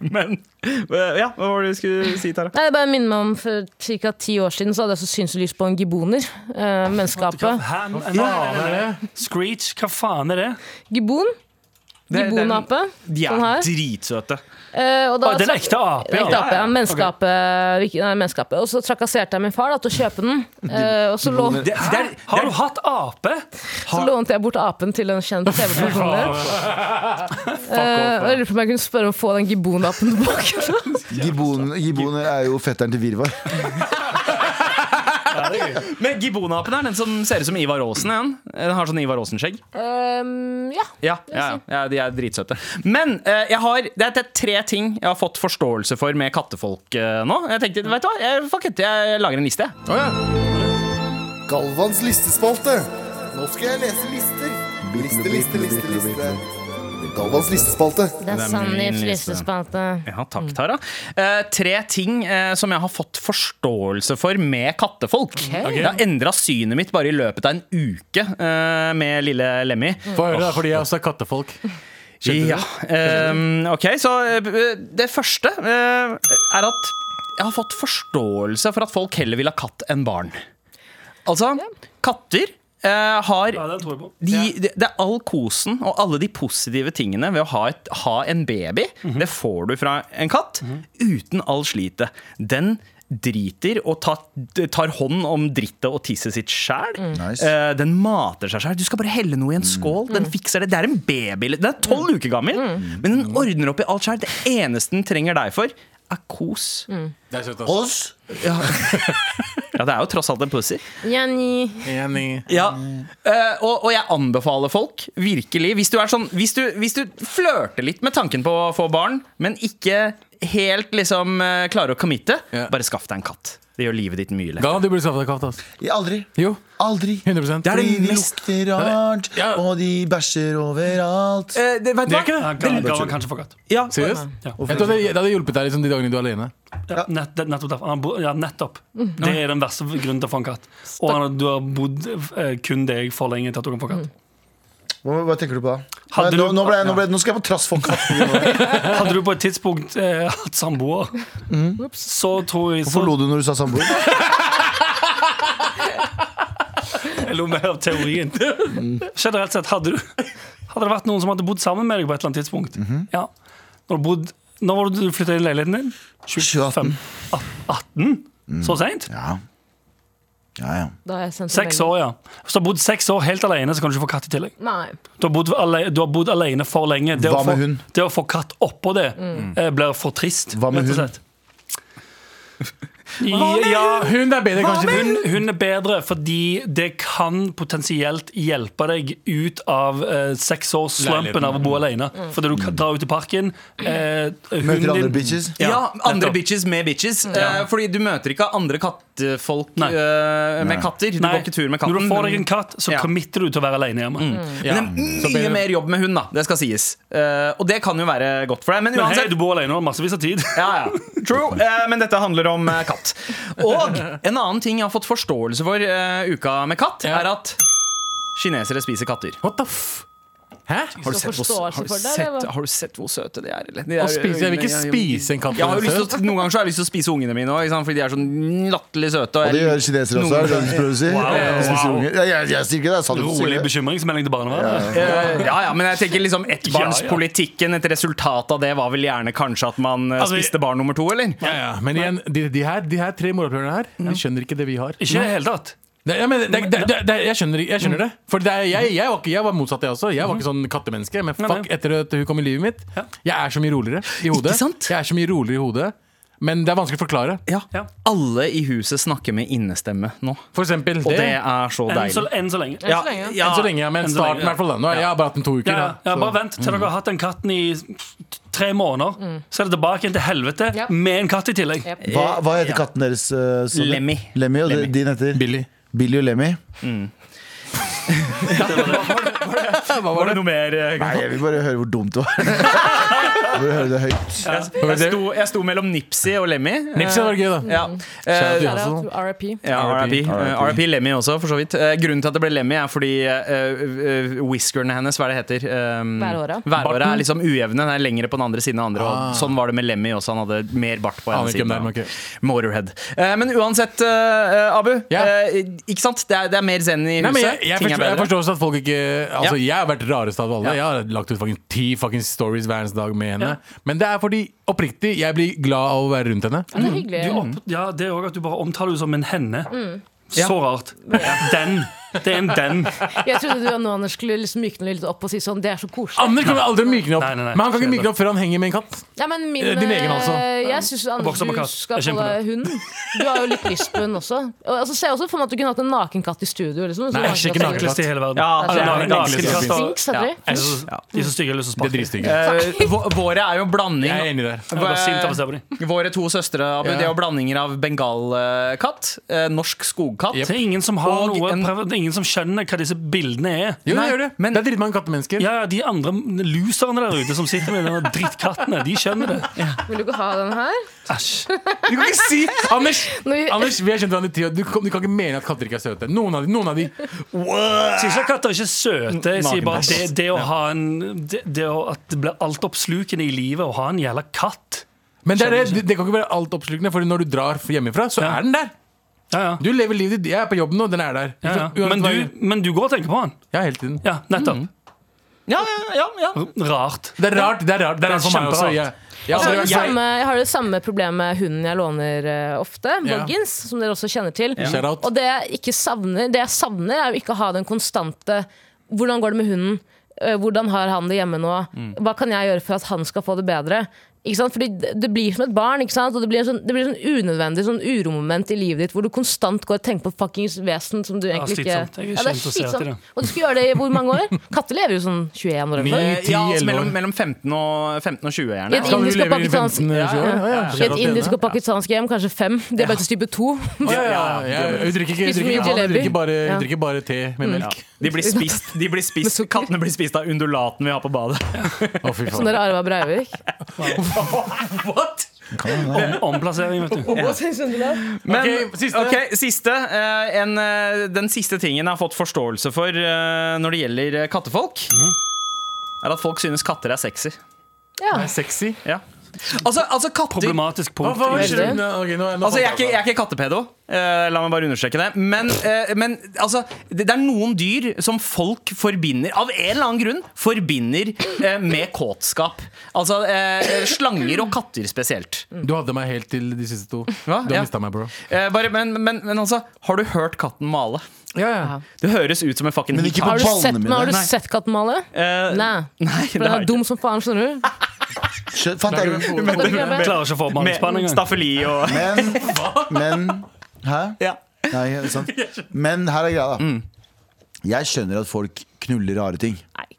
Men eh, ja, hva var det du skulle si, Tara?
Nei, det bare minner meg om For ca. ti år siden Så hadde jeg så synslys på en giboner. Eh,
Hva
menneskeape.
faen er det? Screech, hva faen er det?
Gibon.
Det- det er en-
Gibonape.
De er
Sånn her.
dritsøte.
Eh, og da
Å, det er en ekte ape.
En ekte
ja.
ape, ja. Menneskeape. virke- Nei, menneskeape. Og så trakasserte jeg min far da, til å kjøpe den. Eh, og så, lå,
Det- det er- Har du hatt ape?
så lånte jeg bort apen til en kjent TV-personlighet. Eh, og jeg lurer på om jeg kunne spørre om å få den gibonapen tilbake.
Giboner, giboner er jo fetteren til Virvar.
Men Gibbonapen er den som ser ut som Ivar Aasen igjen. Den har sånn Ivar Aasen-skjegg.
Eh, ja.
Ja, ja, ja, ja, de er dritsøte. Men eh, jeg har, det er- det er tre ting jeg har fått forståelse for med kattefolk eh, nå. Jeg tenkte, vet du hva, jeg, fuck it, jeg lager en liste. jeg.
Å, ja.
Galvans listespalte. Nå skal jeg lese lister. Liste, liste, liste, liste. Galvans listespalte.
Det er sånn Sannys listespalte.
Ja, takk, Tara. Eh, tre ting eh, som jeg har fått forståelse for med kattefolk. Det har endra synet mitt bare i løpet av en uke eh, med lille Lemmy.
Få høre, da, fordi jeg også er kattefolk.
Ja, ehm, ok, så eh, det første eh, er at jeg har fått forståelse for at folk heller vil ha katt enn barn. Altså, katter eh, har
Ja, den tror jeg på.
de, det- Det er all kosen og alle de positive tingene ved å ha, et, ha en baby. Det får du fra en katt uten all slitet. Den driter og tar, tar hånd om drittet og tisset sitt sjæl.
Nice.
Eh, den mater seg sjæl. Du skal bare helle noe i en skål. Den fikser det. Det er en baby. Den er tolv uker gammel, men den ordner opp i alt sjæl. Det eneste den trenger deg for, er kos.
Det er søtt, ass.
Oss?
Ja, det er jo tross alt en pussy.
Jenny.
Enig.
Ja. Eh, og, og jeg anbefaler folk, virkelig Hvis du, er sånn, hvis du, hvis du flørter litt med tanken på å få barn, men ikke helt liksom eh, klarer å committe,
Ja.
bare skaff deg en katt. Det gjør livet ditt mye lettere.
Galvan, du burde skaffe deg katt. ass.
Ja, Aldri.
Jo,
Aldri.
100
Det er det
Fordi de
mest-
lukter rart,
Ja.
og de bæsjer overalt.
Eh, det, vet du
Ja,
hva?
Galvan- Galvan kanskje for katt.
Ja.
Seriøst?
Ja.
Jeg tror det, det hadde hjulpet deg liksom, de dagene du er alene.
Ja, nett, det- nettopp derfor. Han bo- Ja, nettopp.
Mm.
Det er den verste grunnen til å få en katt. Og han, du har bodd eh, kun deg for lenge til at du kan få katt.
Hva, hva tenker du på da?
Hadde
Nei, nå,
du-
nå, ble jeg, nå, ble, nå skal jeg på trass for katten.
Hadde du på et tidspunkt eh, hatt samboer, så tror jeg så,
Mm. Hvorfor lo du når du sa samboer?
Jeg lo mer av
<laughs>
teorien.
Mm.
Generelt sett, hadde du Hadde det vært noen som hadde bodd sammen med deg på et eller annet tidspunkt?
Mhm.
Ja Når du bodd Når var det du flytta inn i leiligheten din?
2018.
18? Så seint?
Mm. Ja. Ja, ja.
Da har jeg sendt en
Seks
melding.
år, ja. Hvis du har bodd seks år helt alene, så kan du ikke få katt i tillegg.
Nei.
Du har bodd alene, du har bodd alene for lenge. Det,
Hva
å,
med
få,
hund?
det å få katt oppå det eh, blir for trist.
Hva med
rett og
hund?
slett. Ja,
Hun er bedre, kanskje.
hun, hun er bedre fordi det kan potensielt hjelpe deg ut av eh, seksårsslumpen av å bo alene. Fordi du kan dra ut i parken. Eh,
Møter andre
hunden din
bitches.
Ja, andre
nettopp.
bitches med bitches. Eh, fordi du møter ikke andre kattefolk
Nei.
eh, med
Nei.
katter. Du
Nei,
går ikke tur med katten.
Når du får deg en
men-
katt, så
Ja. Mm.
committer du til å være alene hjemme.
Ja.
men det er
Så
mye
bedre.
mer jobb med hund, da. Det skal sies. Eh, og det kan jo være godt for deg. Men
Men hei,
uansett
du bor alene og har massevis av tid.
Ja, ja. True. Eh, men dette handler om eh, katt. Og en annen ting jeg har fått forståelse for eh, uka med katt,
Ja.
er at kinesere spiser katter.
What the f... Hæ?
Har du, sett
Så
hvor,
forståelse
har, du
for det,
sett,
eller hva?
har du sett hvor søte de er? Eller? De er
Og spise, jeg vil ikke
Ja, ja,
spise en katt.
Jeg har jo
for
lyst
meg
til å, noen ganger så har jeg lyst til å spise ungene mine òg, fordi de er sånn latterlig søte.
Og det
jeg-
gjør kinesere også. er det det du prøver å si? De spiser
wow.
unger. Ja, jeg, jeg sier ikke det. Jeg sa det ikke.
<laughs> Rolig bekymringsmelding til barnevernet.
Eh, ja, ja, men jeg tenker liksom ettbarnspolitikken, et resultat av det var vel gjerne kanskje at man eh,
Altså,
spiste barn nummer to, eller?
selv. Ja, ja. Men igjen, de, de, her, de her tre morapulerne her, de skjønner ikke det vi har.
Ikke i det hele tatt.
Det, ja, men det, det, det, det, jeg, skjønner, jeg skjønner det. For det er, jeg, jeg, var ikke, jeg var motsatt, jeg også. Jeg var ikke sånn kattemenneske. Men
nei.
fuck, etter at hun kom i livet mitt, jeg er så mye roligere i hodet.
Ikke sant?
Jeg er så mye roligere i hodet Men det er vanskelig å forklare.
Ja.
Ja.
Alle i huset snakker med innestemme nå,
For eksempel
og
det.
det er så
Enn så,
deilig.
enn så lenge.
Ja,
lenge,
ja.
Enn så lenge, ja, men
enn så
starten i
lenge, ja.
hvert fall. da. Nå har jeg bare hatt den to uker.
Ja,
Da,
ja, ja,
så-
bare vent til dere har hatt den katten i tre måneder. Så er det tilbake igjen til helvete
Ja.
med en katt i tillegg.
Yep.
Hva, hva heter katten deres? eh, Sonny?
Lemmy.
Lemmy, og de-
Lemmy.
din heter?
Billy.
Billy og Lemmy.
Hva var det?
noe mer? eh,
Nei, jeg vil bare høre hvor dumt det var. Vil du høre det høyt?
Jeg sto, jeg sto mellom Nipsey og Lemmy. Eh,
Nipsey hadde vært gøy, da.
Ja.
Shout
Eh,
out.
Shout out to RIP.
ja,
R.I.P.
RIP. Eh, RIP Lemmy også, for så vidt. Eh, Grunnen til at det ble Lemmy, er fordi uh, whiskerne hennes, hva er det heter Um,
Værhåra.
Værhåra
Barten?
er liksom ujevne. Den er lengre på den andre siden enn andre.
Ah.
Og sånn var det med Lemmy også. Han hadde mer bart på
Aner
ene siden.
ikke hvem det er, men
og-
ok.
Motorhead. Eh, men uansett, eh, Abu.
Ja.
eh, ikke sant? Det er, det er mer zen i huset.
Nei, men jeg, jeg,
Ting
forstår,
er
jeg
bedre.
forstår også at folk ikke Altså, Jeg har vært rarest av alle.
Ja.
Jeg har lagt ut fucking ti fucking stories hver eneste dag med henne. Men det er fordi, oppriktig, jeg blir glad av å være rundt henne.
Ja, det er hyggelig.
Du opp, ja, det er òg at du bare omtaler henne som en henne. Så rart. Den. Det
<laughs>
er en den.
Jeg trodde du og nå, Anders skulle liksom mykne litt opp og si sånn, det er så koselig.
Anders kommer aldri mykne opp.
Nei, nei, nei.
Men han kan ikke
Kjedelig.
mykne opp før han henger med en katt.
Ja, men min,
Eh, din egen altså.
eh, Jeg syns Anders
Vokser på
du
katt.
skal
Jeg
få
kjemper
deg hund. Du har jo litt lyst på hund også. Og, altså, ser jeg også for meg at du kunne hatt en nakenkatt i studio. Liksom,
Nei, jeg ser ikke nakenkatt.
Enkleste i hele verden. Altså,
Ja,
Alle
det er
naken-
den enkleste
nakenkatter.
som
Sphinx, hadde
Ja.
dere?
Jeg er så- De er så stygge, jeg har lyst til å
Det er
sparke.
dritstygge.
Eh, vå- våre er jo en blanding eh,
Jeg er enig der.
Jeg blir bare sint av å se på dem.
Våre to søstre Abu,
Ja.
de er jo blandinger av bengalkatt, eh, norsk skogkatt
Det er ingen som har
Og
noe
en-
prøv, Det er ingen som skjønner hva disse bildene er.
Jo,
Nei,
det gjør det.
men-
det er dritmange kattemennesker.
Ja, ja, De andre loserne der ute som sitter med de drittkattene, de skjønner det.
Vil du ikke ha den her?
Æsj.
Du kan ikke si Anders!
Nå-
Anders, vi har kjent hverandre i ti år. Du, kan- du kan ikke mene at katter ikke er søte. Noen av de, noen av de.
Jeg sier ikke at katter er ikke søte. Jeg sier bare at det, det å ha en det, det å, At det blir altoppslukende i livet å ha en jævla katt.
Men det, er det, det kan ikke være altoppslukende, for når du drar hjemmefra, så
Ja.
er den der.
Ja, ja.
Du lever livet ditt. Jeg er på jobb nå, den er der.
Ja, ja.
Uansett
Men,
hva
du,
jeg-
men du går og tenker på han.
Ja, hele tiden.
Ja, nettopp.
<laughs> Ja, ja, ja, ja.
R- Rart.
Det er rart. Det er rart, det er rart for meg også. Jeg,
kjemperart.
jeg, har
Jeg har, det
aldri vært så-
samme, jeg har det samme problemet med hunden jeg låner eh, ofte.
Ja.
Boggins, som dere også kjenner til.
Shout out.
Og det jeg, ikke savner, det jeg savner, er jo ikke å ha den konstante Hvordan går det med hunden? Eh, Hvordan har han det hjemme nå?
Mm.
Hva kan jeg gjøre for at han skal få det bedre? Ikke sant? Fordi det- det blir som et barn, ikke sant? og det blir en sånn, det blir en sånn unødvendig sånn uromoment i livet ditt hvor du konstant går og tenker på fuckings vesen som du egentlig ikke
slitsomt. Jeg er kjent å se etter det.
Og du skal gjøre det i hvor mange
<laughs>
år? Katter lever jo sånn 21 år. eller noe.
Ni-
Eh, ja altså,
10-11
mellom,
år.
mellom 15, og, 15 og 20,
I
gjerne.
et
Skal du
indisk og
leve i
pakistansk
15 år? Ja, ja,
I
ja.
et indisk og pakistansk hjem, kanskje fem. Diabetes type to. <laughs>
Ja, ja, ja. Hun drikker ikke, hun
Spiser
drikker
mye
ikke, vann, hun
jalebi.
drikker bare, hun
Ja.
drikker bare te med melk.
De blir spist, de blir spist Kattene blir spist av undulaten vi har på badet.
Å, fy
Sånn
faen.
der Arva Breivik.
What?
Omplassering, vet du.
Men,
Ok, siste.
ok, siste, eh, en, eh, den siste tingen jeg har fått forståelse for eh, når det gjelder eh, kattefolk,
Mhm.
er at folk synes katter er sexy.
Ja.
Sexy.
Ja. Altså, altså katter
Problematisk
Hva,
punkt.
hva,
Veldig.
skjer? Nå- ok, nå, nå
Altså, jeg, er ikke, jeg er ikke kattepedo, eh, la meg bare understreke det. Men, eh, men altså, det, det er noen dyr som folk forbinder, av en eller annen grunn, forbinder eh, med kåtskap. Altså eh, slanger og katter spesielt.
Du hadde meg helt til de siste to.
Hva?
Du
Ja.
har mistet meg, bro.
Eh, bare, men, men, men altså, har du hørt katten male?
Ja, ja.
Det høres ut som en fucking
Men ikke på
Har du sett,
ballene
men har du
mine.
sett katten male?
Eh,
Nei.
Nei,
For
det
den
har
er
jeg ikke.
dum som faen, skjønner du?
Skjø- Fant jeg
Kan dere prøve?
Klarer ikke å få mannspann
Med
engang.
staffeli og
Men, men Hæ?
ja.
Nei, sant. Men her er greia, da. Jeg skjønner at folk knuller rare ting.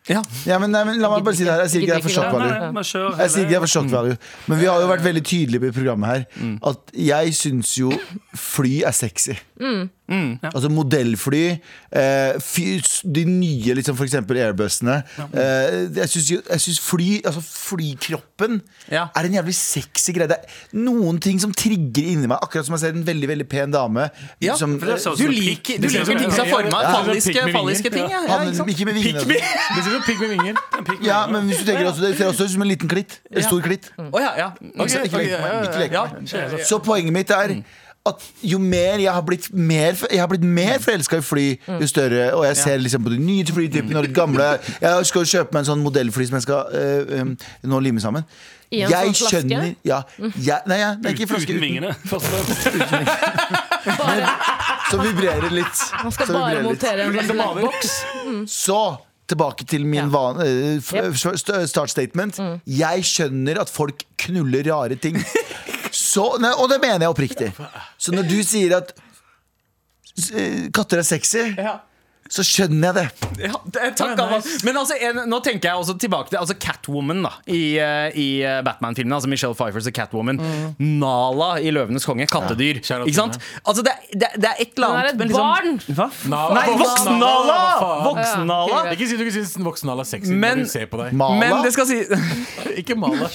Ja.
Ja, men, nei, men La meg bare si det her. Jeg sier ikke det er for
Gidder
shock
ikke.
Nei,
value.
nei, men kjør
Jeg sier ikke det
hele-
er for shock value, men vi har jo vært veldig tydelige i programmet her at jeg syns jo fly er sexy.
Mm.
Altså modellfly, eh, fy, de nye liksom for eksempel airbusene. Eh, jeg syns jo- jeg syns fly, altså flykroppen,
Ja.
er en jævlig sexy greie. Det er noen ting som trigger inni meg, akkurat som jeg ser en veldig veldig pen dame.
Ja,
som,
for det er sånn-
Du liker, du liker ting som er forma. Falliske, falliske ting. Ja. Ja,
han,
ikke sant?
ikke med vingene. altså.
Det ser ut som pigg med vinger.
Ja, men hvis du tenker også, det ser også ut som en liten klitt. En stor klitt.
Å, ja, ja.
Ikke sant? Ikke lek med meg. Ikke lek
Ja.
med meg.
Altså,
Så poenget mitt er
Mm.
at jo mer jeg har blitt mer, jeg har blitt mer forelska i fly,
Mm.
jo større. Og jeg ser liksom på de nye flytypene og de
<laughs>
gamle. Jeg skal jo kjøpe meg en sånn modellfly som jeg skal eh, um, nå lime sammen.
I
jeg
en sånn flaske?
skjønner ja, jeg, Nei, ja, nei ikke i flaske.
Uten vingene.
Bare,
Som vibrerer litt. Så
man skal
vibrerer
bare
litt.
montere en sånn blackbox.
Så tilbake til min
Ja.
van, eh, f-
Yep.
f- st- start statement.
Mm.
Jeg skjønner at folk knuller rare ting. Så, nei, og det mener jeg oppriktig. Så når du sier at s- eh, katter er sexy, så skjønner jeg det.
Ja, det- takk, Galvan. Men altså, en, nå tenker jeg også tilbake til altså Catwoman da, i, eh, i eh, Batman-filmene. Altså Michelle Pfeiffers Catwoman. Nala i 'Løvenes konge'. Kattedyr.
kjære
ikke sant? Altså, det, er- det, er- det er et eller
Hun er
annet
et
men
barn.
Hva?
Nala.
Nei,
Voksen-Nala,
voksen-Nala!
hva faen?
Voksen-Nala.
Ikke si du ikke syns voksen-Nala er sexy.
Men-
Men, se på deg.
Mala?
Men det skal si <laughs>
Ikke Mala.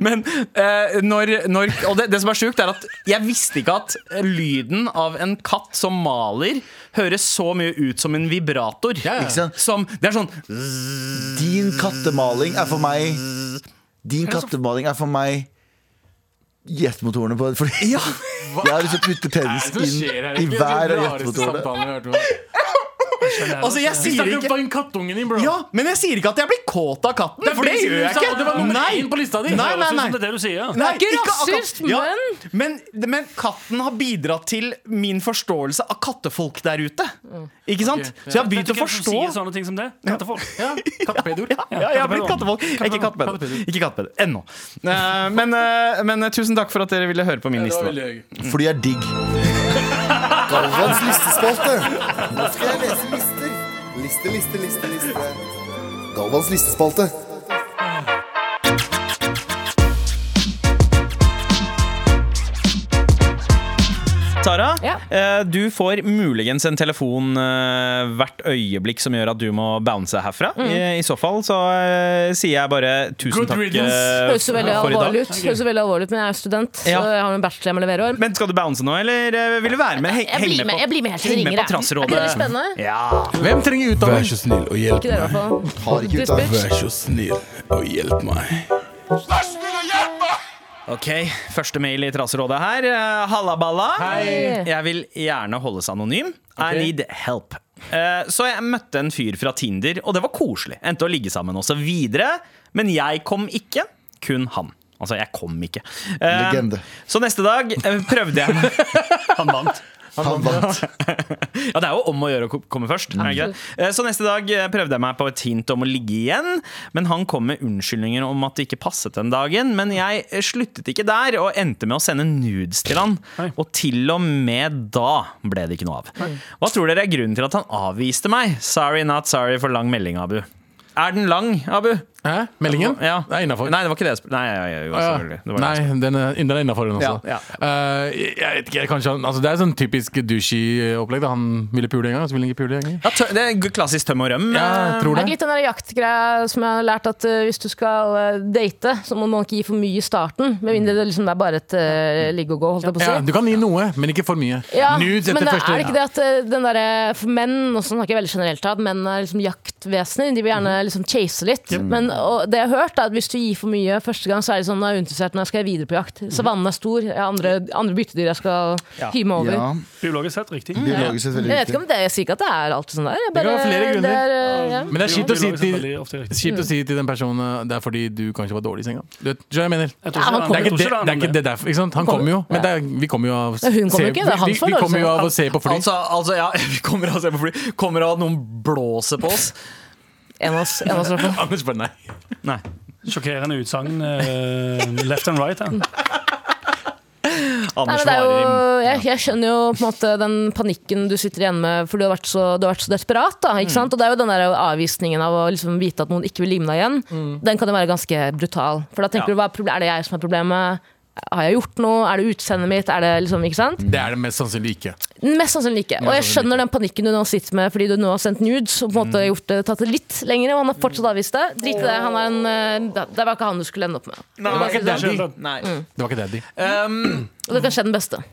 Men eh, når, når Og det, det som er sjukt, er at jeg visste ikke at lyden av en katt som maler, høres så mye ut som en vibrator.
ja.
Ikke sant?
Som Det er sånn
Din kattemaling er for meg Din kattemaling er for meg jetmotorene på fordi <laughs> Jeg har lyst til å putte penis inn i hver av jetmotorene.
Altså, jeg sier
Snakker
ikke
du fucking kattungen din, bro?
Ja, men jeg sier ikke at jeg blir kåt av katten,
Det er
for det
det du
gjør jeg
sa,
ikke.
og det var nummer
Nei.
én på lista di.
Nei,
Det
nei,
høres ut
nei.
som Det er det du sier.
Nei,
Det er ikke
akkurat-
rasist,
men Men katten har bidratt til min forståelse av kattefolk der ute. Ikke sant?
Ok, ja.
Så jeg har
Vet
begynt
du
å
hvem som
forstå.
sier sånne ting som det? Kattefolk.
Ja, Kattepedoer.
Ja, jeg har blitt kattefolk. Jeg er Ikke kattepedder.
Kattepedder.
Ikke kattepedder. Ennå. Eh, Men, eh, men eh, tusen takk for at dere ville høre på min
Det
liste.
var
da.
veldig gøy.
Fordi jeg er
<laughs>
digg.
Galvans listespalte. Nå skal jeg lese lister. Liste, liste, liste, liste. Galvans listespalte.
Tara,
Ja.
eh, du får muligens en telefon eh, hvert øyeblikk som gjør at du må bounce herfra.
Mm.
I, I så fall så eh, sier jeg bare tusen
Good
takk eh,
riddance.
Høres jo veldig
for i
alvorlig
dag.
ut, Høres jo veldig alvorlig ut men jeg er student,
Ja.
så jeg har en bachelor jeg må levere.
Men skal du bounce nå, eller eh, vil du være med? Heng,
Jeg
heng
blir med,
på-
jeg blir med helt til
heng
det ringer.
med på
jeg.
Trasserådet.
Det er litt spennende.
Ja.
Hvem trenger utdanning?
så snill og hjelp
Ikke dere, i hvert fall.
Har ikke utdanning.
Vær så snill og hjelp meg.
Ok, første mail i Trasserådet her. Eh, Halla, balla.
Hei.
Jeg vil gjerne holdes anonym. I need help. Eh, Så jeg møtte en fyr fra Tinder, og det var koselig. Endte å ligge sammen også videre. Men jeg kom ikke. Kun han. Altså, jeg kom ikke. Eh,
Legende.
Så neste dag eh, prøvde jeg meg Han vant.
Han vant.
Ja, det er jo om å gjøre å ko- komme først. er det ikke det? Eh, Så neste dag eh, prøvde jeg meg på et hint om å ligge igjen, men han kom med unnskyldninger om at det ikke passet den dagen. Men jeg eh, sluttet ikke der, og endte med å sende nudes til han. Og til og med da ble det ikke noe av. Hva tror dere er grunnen til at han avviste meg? Sorry, not sorry for lang melding, Abu. Er den lang, Abu?
Hæ? Meldingen?
Ja.
Det er innafor.
Nei, det var ikke det jeg spurte. Nei, ja, ja, jo,
Ja.
selvfølgelig. Det var det jeg
Nei, den er, den er innafor, den også.
Ja,
Eh, jeg, jeg vet ikke, kanskje han, altså Det er sånn typisk douchey-opplegg. da. Han ville pule en gang, så ville han ikke pule en gang.
spurte. Ja, tø- det er klassisk tøm og røm. eh,
Ja, jeg
Det
tror
Eh, er
det.
ikke litt den der jaktgreia som jeg har lært at eh, hvis du skal eh, date, så må man ikke gi for mye i starten. Med mindre det liksom er bare et eh, ligge og gå, holdt jeg på å si.
Ja, du kan gi noe, men ikke for mye.
Ja,
Nudes
men
etter
det
første
er det ikke det at eh, den der, eh, for menn og sånn snakker jeg veldig generelt her, at menn er liksom jaktvesener. De vil gjerne
Mhm.
liksom chase litt. Men og det jeg har hørt er at hvis du gir for mye første gang, så er det sånn, nå er jeg uinteressert, nå skal jeg videre på jakt.
Mhm.
Savannen er stor, jeg har andre, andre byttedyr jeg skal
Ja.
hyme over.
Ja,
Biologisk sett riktig.
biologisk sett
Jeg
veldig
vet ikke
viktig.
om det, jeg sier ikke at det er alltid sånn der. Jeg
Det kan
bare,
være flere grunner.
det er, eh, ja.
Men det er kjipt å si
Biologisk sett
til
veldig ofte riktig.
Kjipt å si til den personen eh, det er fordi du kanskje var dårlig i senga. Du vet, skjønner du hva jeg mener
Jeg
Ja, han
tror
det er
jeg
ikke det,
tror
det,
ikke
er ikke det derfor. Ikke sant? Han kommer jo, men det er, vi kommer jo av
Ja, hun kommer
se-
jo ikke, det er han
vi,
som er dårlig
vi
i
kommer jo
senga.
av å se på fly.
Altså, altså, ja, <laughs> vi kommer av å se på fly. Kommer av at noen blåser på
<laughs>
oss.
En av oss, en av oss i hvert fall.
Anders bare nei.
Nei.
Sjokkerende utsagn. eh, left and right. her.
Nei,
Anders
men det er jo,
Varim.
jeg, jeg skjønner jo på en måte den panikken du sitter igjen med, for du har vært så, du har vært så desperat. Da, ikke sant? Og det er jo den der avvisningen av å liksom vite at noen ikke vil ligne deg igjen, den kan jo være ganske brutal. For da tenker du hva er proble- er det jeg som er problemet? Har jeg gjort noe? Er det utseendet mitt? Er det liksom, ikke sant?
Det er det mest sannsynlig ikke.
Mest sannsynlig ikke. Mm. Og jeg skjønner den panikken du nå sitter med fordi du nå har sendt nudes og på en måte gjort det, tatt det litt lenger, og han har fortsatt avvist det. Drit i det. Han er en, eh, det det var ikke han du skulle ende opp med.
Det var ikke
daddy.
daddy. Nei.
Mm.
Det var ikke daddy.
Og det kan skje den beste.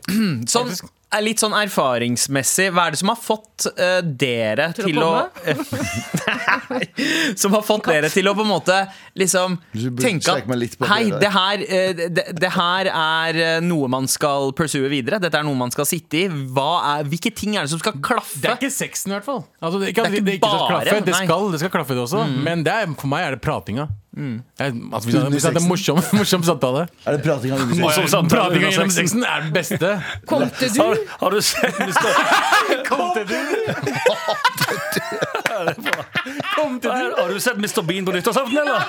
Sånn, er litt sånn erfaringsmessig, hva er det som har fått eh, dere
å
til å <laughs> Nei. Som har fått dere til å på en måte liksom
Du burde
tenke
strekke meg litt på
at Hei,
det der."
det her, eh, det, det her er eh, noe man skal pursue videre. Dette er noe man skal sitte i. Hva er, hvilke ting er det som skal
Det er
klaffe?
ikke sexen, i hvert fall. Altså, det, ikke,
Det er
det,
ikke
det, ikke skal
bare,
klaffe. det,
nei.
skal, det skal klaffe, det også. Men det er, for meg er det pratinga. Jeg, altså, hvis jeg- hvis jeg hadde en
sexen.
morsom, <laughs> morsom samtale
Er det prating av undersøkelser?
Morsom samtale
Pratinga
under
gjennom
sexen.
sexen er det beste.
Kom til du?
Har, har du sett hvis det-
Kom til
Har har du sett Mr. Bean på nyttårsaften, eller?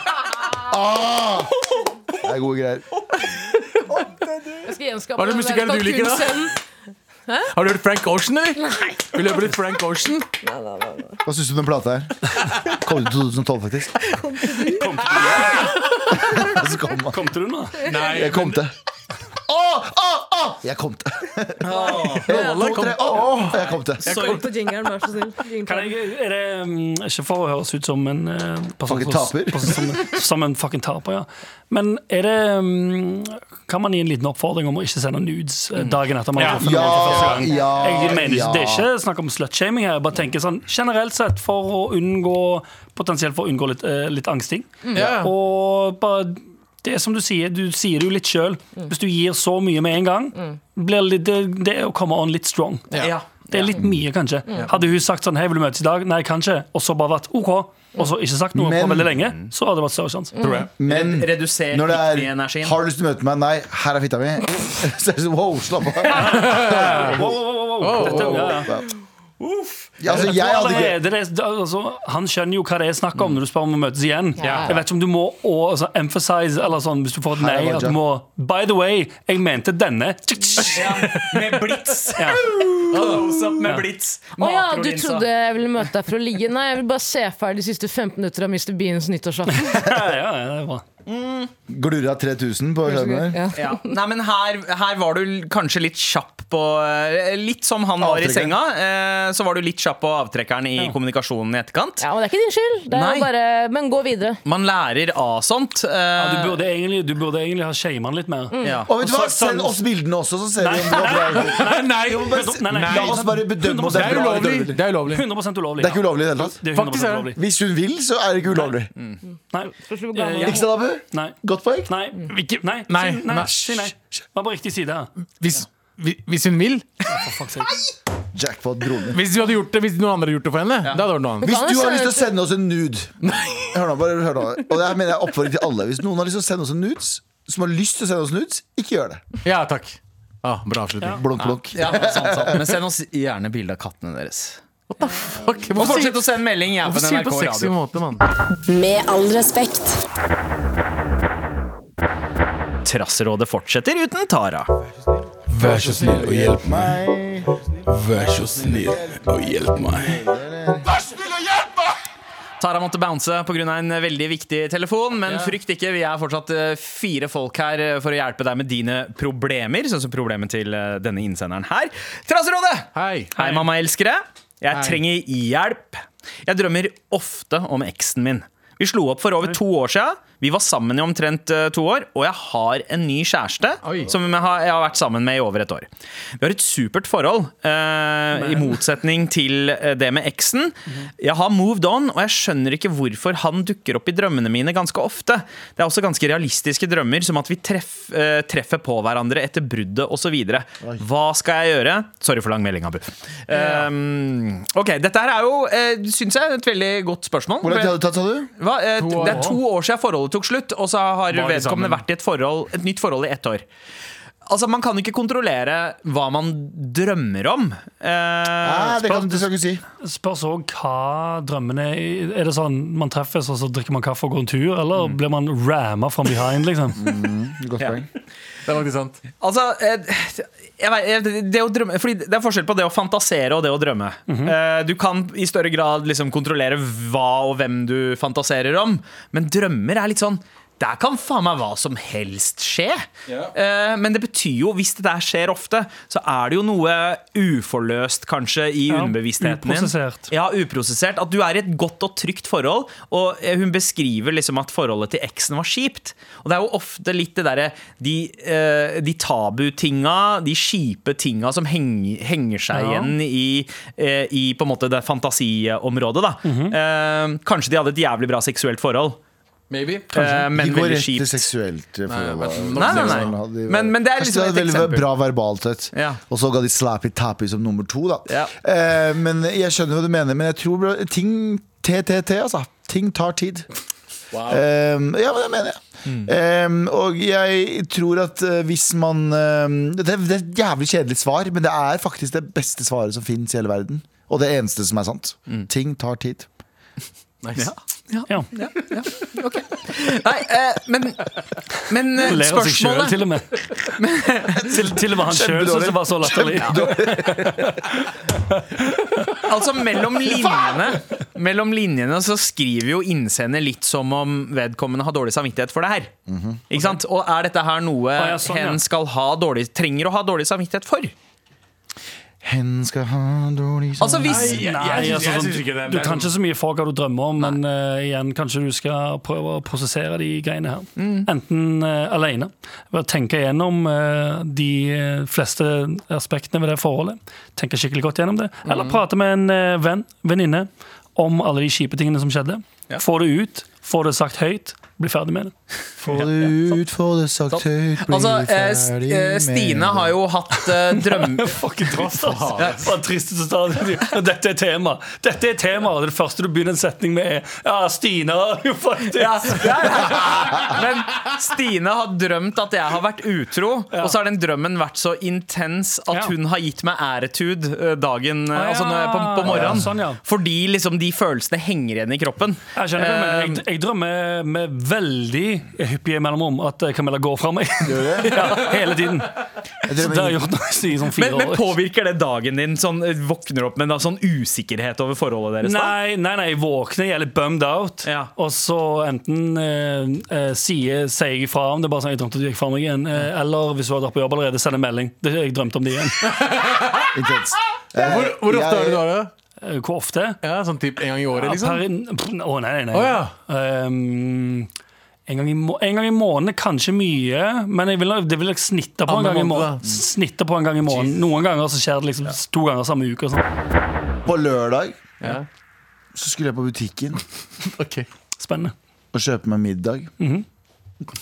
Ah! Det er gode greier.
Jeg skal gjenskape
Hva er det
den der
musikken du liker, da?
kalkunscenen.
Har du hørt Frank Ocean, eller? Nei. Vi løper litt Frank Ocean.
Hva syns du om den plata her? Kom ut i 2012, faktisk.
Kom til du,
Og så kom han.
kom til du nå?
Nei,
Jeg kom til. Å, å, å! Jeg kom til. En,
Rolle
to,
kom-
tre, å, å! Jeg kom til.
Sorry.
På jingeren, vær så snill. Jingle.
Kan jeg, er det mm, ikke for å høres ut som en eh, person
Fucking
som-
taper.
person Som, som en fucking taper, ja. Men er det mm, Kan man gi en liten oppfordring om å ikke sende nudes eh, dagen etter man har truffet noen for første
Ja,
gang?
ja,
Jeg mener ikke,
ja.
Det er ikke snakk om slutshaming her. Jeg bare tenker sånn generelt sett for å unngå Potensielt for å unngå litt, eh, litt angsting.
Ja.
Og bare det er som du sier, du sier det jo litt sjøl. Hvis du gir så mye med en gang, blir det, litt- det, det er å komme on litt strong.
Ja.
Det er litt mye, kanskje. Hadde hun sagt sånn Hei, vil du møtes i dag? Nei, kanskje. Og så bare vært OK. Og så ikke sagt noe
Men-
på veldig lenge. Så hadde det vært større sjanse.
tror jeg.
Men
Reduser
når det er
energien.
Har du lyst til å møte meg? Nei, her er fitta
<laughs>
mi. Så er det sånn, wow, slapp av.
Wow, wow, wow, wow. Dette- ja, ja.
Ja, altså, jeg hadde ikke
Allerede det, altså, han skjønner jo hva det er snakk om når du spør om å møtes igjen.
Ja.
Jeg vet ikke om du må å, altså, emphasize eller sånn hvis du får et
Hei,
nei.
Raja.
At du må By the way, jeg mente denne. <laughs>
Med blits.
Ja.
Close up med blits.
Å ja, du trodde jeg ville møte deg for å ligge? Nei, jeg vil bare se ferdig de siste 15 minutter av Mr. Beans nyttårsaften.
<laughs> Ja, ja, det er bra.
glurra 3000 på skjermen her.
Ja.
ja. Nei, men her, her var du l- kanskje litt kjapp på eh, Litt som han var i
Avtrekkeren.
senga. eh, Så var du litt kjapp på avtrekkeren i kommunikasjonen i etterkant.
Ja, men det er ikke din skyld. Det
Nei.
er bare, men gå videre.
Man lærer av sånt. eh,
Ja, du, burde egentlig, du burde egentlig ha shama han litt mer.
ja.
Og vet du hva,
Og så-
Send oss bildene også, så ser vi om det var bra. eller ikke.
Altså, sånn- <laughs> Nei, sånn- nei,
Nei, nei, La oss bare bedømme om det
Det
er
er
bra. eller
ulovlig.
sånn-
dårlig.
Det er ulovlig.
100 ulovlig.
Det er ikke ulovlig i det hele tatt.
Det er
Faktisk er
100%
det.
ulovlig.
Hvis hun vil, så er det ikke ulovlig.
Nei. Eh,
Ikke sant, Abu?
Nei.
Godt poeng.
Nei. Ikke, nei.
Nei,
Si nei.
nei.
Si nei. Var på riktig side. her.
Hvis, hvi- hvis hun vil.
Fuck sake.
Jackpot, broren min.
Hvis, du hadde gjort det, hvis noen andre hadde gjort det for henne, det hadde vært noe annet.
Hvis
Kan
du
jeg
har
sende
lyst til å sende oss en nude Hør nå, bare hør nå. Og det her mener jeg oppfordring til alle. Hvis noen har lyst til å sende oss en nudes, som har lyst til å sende oss nudes, ikke gjør det.
Ja, takk. Ah, bra avslutning.
Blunk, blunk.
Ja, sant, sant. Men send oss gjerne bilde av kattene deres.
Fuck,
Og
hvorfor sier
fortsett å sende melding. Jeg, på
hvorfor sier du
NRK
på sexy
Radio.
måte, mann?
Med all respekt.
Trasserådet fortsetter uten Tara.
Vær så snill og hjelp meg. Vær så snill og hjelp meg.
Tara måtte bounce pga. en veldig viktig telefon, men frykt ikke. Vi er fortsatt eh, fire folk her eh, for å hjelpe deg med dine problemer, sånn som problemet til eh, denne innsenderen her. Trasserådet!
Hei.
Hei, mammaelskere. Jeg
Hei.
trenger hjelp. Jeg drømmer ofte om eksen min. Vi slo opp for over to år siden. Vi var sammen i omtrent eh, to år, og jeg har en ny kjæreste
Oi.
som jeg har, jeg har vært sammen med i over et år. Vi har et supert forhold, eh, i motsetning til eh, det med eksen. Jeg har moved on, og jeg skjønner ikke hvorfor han dukker opp i drømmene mine ganske ofte. Det er også ganske realistiske drømmer, som at vi treff, eh, treffer på hverandre etter bruddet osv. Hva skal jeg gjøre? Sorry for lang melding, Abu. Um, ok, dette her er jo, eh, syns jeg, et veldig godt spørsmål.
Hvor lang tid hadde det tatt, sa du?
Hva? Eh,
To år.
det er to år siden forholdet tok slutt, og så har
de
vedkommende
sammen?
vært i et, forhold, et nytt forhold i ett år. Altså, Man kan ikke kontrollere hva man drømmer om. Eh,
Nei, Ah, det, kan, det skal du ikke si.
Spørs òg hva drømmene er. Er det sånn man treffes, og så drikker man kaffe og går en tur, eller blir man ramma from behind, liksom?
Godt poeng.
Det er faktisk sant.
altså, eh, jeg vet, eh, det, å drømme, fordi det er forskjell på det å fantasere og det å drømme. eh, du kan i større grad liksom kontrollere hva og hvem du fantaserer om, men drømmer er litt sånn der kan faen meg hva som helst skje. Eh, men det betyr jo, hvis det der skjer ofte, så er det jo noe uforløst, kanskje, i
Ja,
underbevisstheten din.
uprosessert.
Ja, uprosessert. At du er i et godt og trygt forhold. Og eh, hun beskriver liksom at forholdet til eksen var kjipt. Og det er jo ofte litt det derre de, eh, de tabutinga, de kjipe tinga som henger, henger seg
Ja.
igjen i, eh, i på en måte det fantasiområdet, da. Eh, kanskje de hadde et jævlig bra seksuelt forhold,
Maybe.
eh, men
De går
veldig
rett
kjipt.
til seksuelt eh, forhold.
Nei, men-
Nei, nei,
Sånn
nei.
hadde de-
Men, men det er
Kanskje
liksom
det
et
var veldig
eksempel.
bra verbalt sett.
Ja.
Og så ga de slappy tappy som nummer to, da.
Ja.
Eh, men jeg skjønner hva du mener, men jeg tror bro, ting TTT, altså. Ting tar tid. Eh, ja, men det mener jeg.
Mm.
Eh, og jeg tror at eh, hvis man eh, det, er- det er et jævlig kjedelig svar, men det er faktisk
Mm.
det beste svaret som fins i hele verden. Og det eneste som er sant. Ting tar tid.
Nice.
Ja.
Nei, eh, men, men eh,
Ler av seg sjøl,
spørsmålet
til og med.
<laughs>
Til, til og med han sjøl syns det var så latterlig.
Altså, mellom linjene, mellom linjene så skriver jo innsender litt som om vedkommende har dårlig samvittighet for det her.
Mhm.
Ikke sant? Og er dette her noe
ja, sånn, ja.
hen skal ha dårlig, trenger å ha dårlig samvittighet for?
Hen skal ha dårlig
Altså, hvis
Nei,
jeg synes-
altså,
jeg
sånn,
synes ikke det-
Du
det er
kan ikke så mye for hva du drømmer om, men eh, igjen, kanskje du skal prøve å prosessere de greiene her.
Mm.
Enten eh, alene, ved å tenke gjennom eh, de eh, fleste aspektene ved det forholdet. Tenke skikkelig godt gjennom det.
Mm.
Eller prate med en eh, venn, venninne, om alle de kjipe tingene som skjedde. Få det ut, få det sagt høyt, bli ferdig med det.
Få det ut, få det sagt høyt, bli
Altså, eh, S-
ferdig
eh,
med
Stine har jo hatt eh, drøm...
<laughs> Fucking trist, altså. Det var det tristeste stadiet. Og Dette er tema. Dette er tema, og det første du begynner en setning med, er Ja, Stina, <laughs> jo faktisk.
Ja, ja, ja. Men Stine har drømt at jeg har vært utro, og så har den drømmen vært så intens at
Ja.
hun har gitt meg æretud eh, dagen eh,
Ah,
Altså når jeg, på,
ja.
på morgenen.
Ja, sånn, ja.
Fordi liksom de følelsene henger igjen i kroppen. Eh,
Jeg skjønner hva du
Ehm.
mener. Jeg, jeg drømmer med veldig hyppige mellomrom at eh, Camilla går fra meg. <laughs> ja, hele tiden. Så det har jeg gjort nå i sånn
Men,
fire
men
år.
påvirker det dagen din? Sånn, eh, våkner opp med en sånn usikkerhet over forholdet deres? da?
Nei, nei, nei, jeg våkner, jeg er litt bummed out.
Ja.
Og så enten eh, eh, sier, sier jeg ifra om det, er bare sånn jeg drømte at du gikk fra meg igjen. Eh, eller hvis du har vært på jobb allerede, send en melding. Det, jeg drømte om det igjen.
<laughs>
Intenst.
Hvor, hvor ofte
Jeg-
er det du har det?
Eh, Hvor ofte?
Ja, sånn typ en gang i
Ja,
året, liksom?
per- pff, Å, nei, nei. nei.
Å, ja.
Ehm, en, gang i må en gang i måneden kanskje mye, men jeg vil, det vil jeg snitte på, en
Annen
gang i må
måned, da.
snitte på en gang i måneden. Noen ganger så skjer det liksom to ganger samme uke. Og sånn.
På lørdag
Ja.
så skulle jeg på butikken
Ok.
Spennende.
og kjøpe meg middag.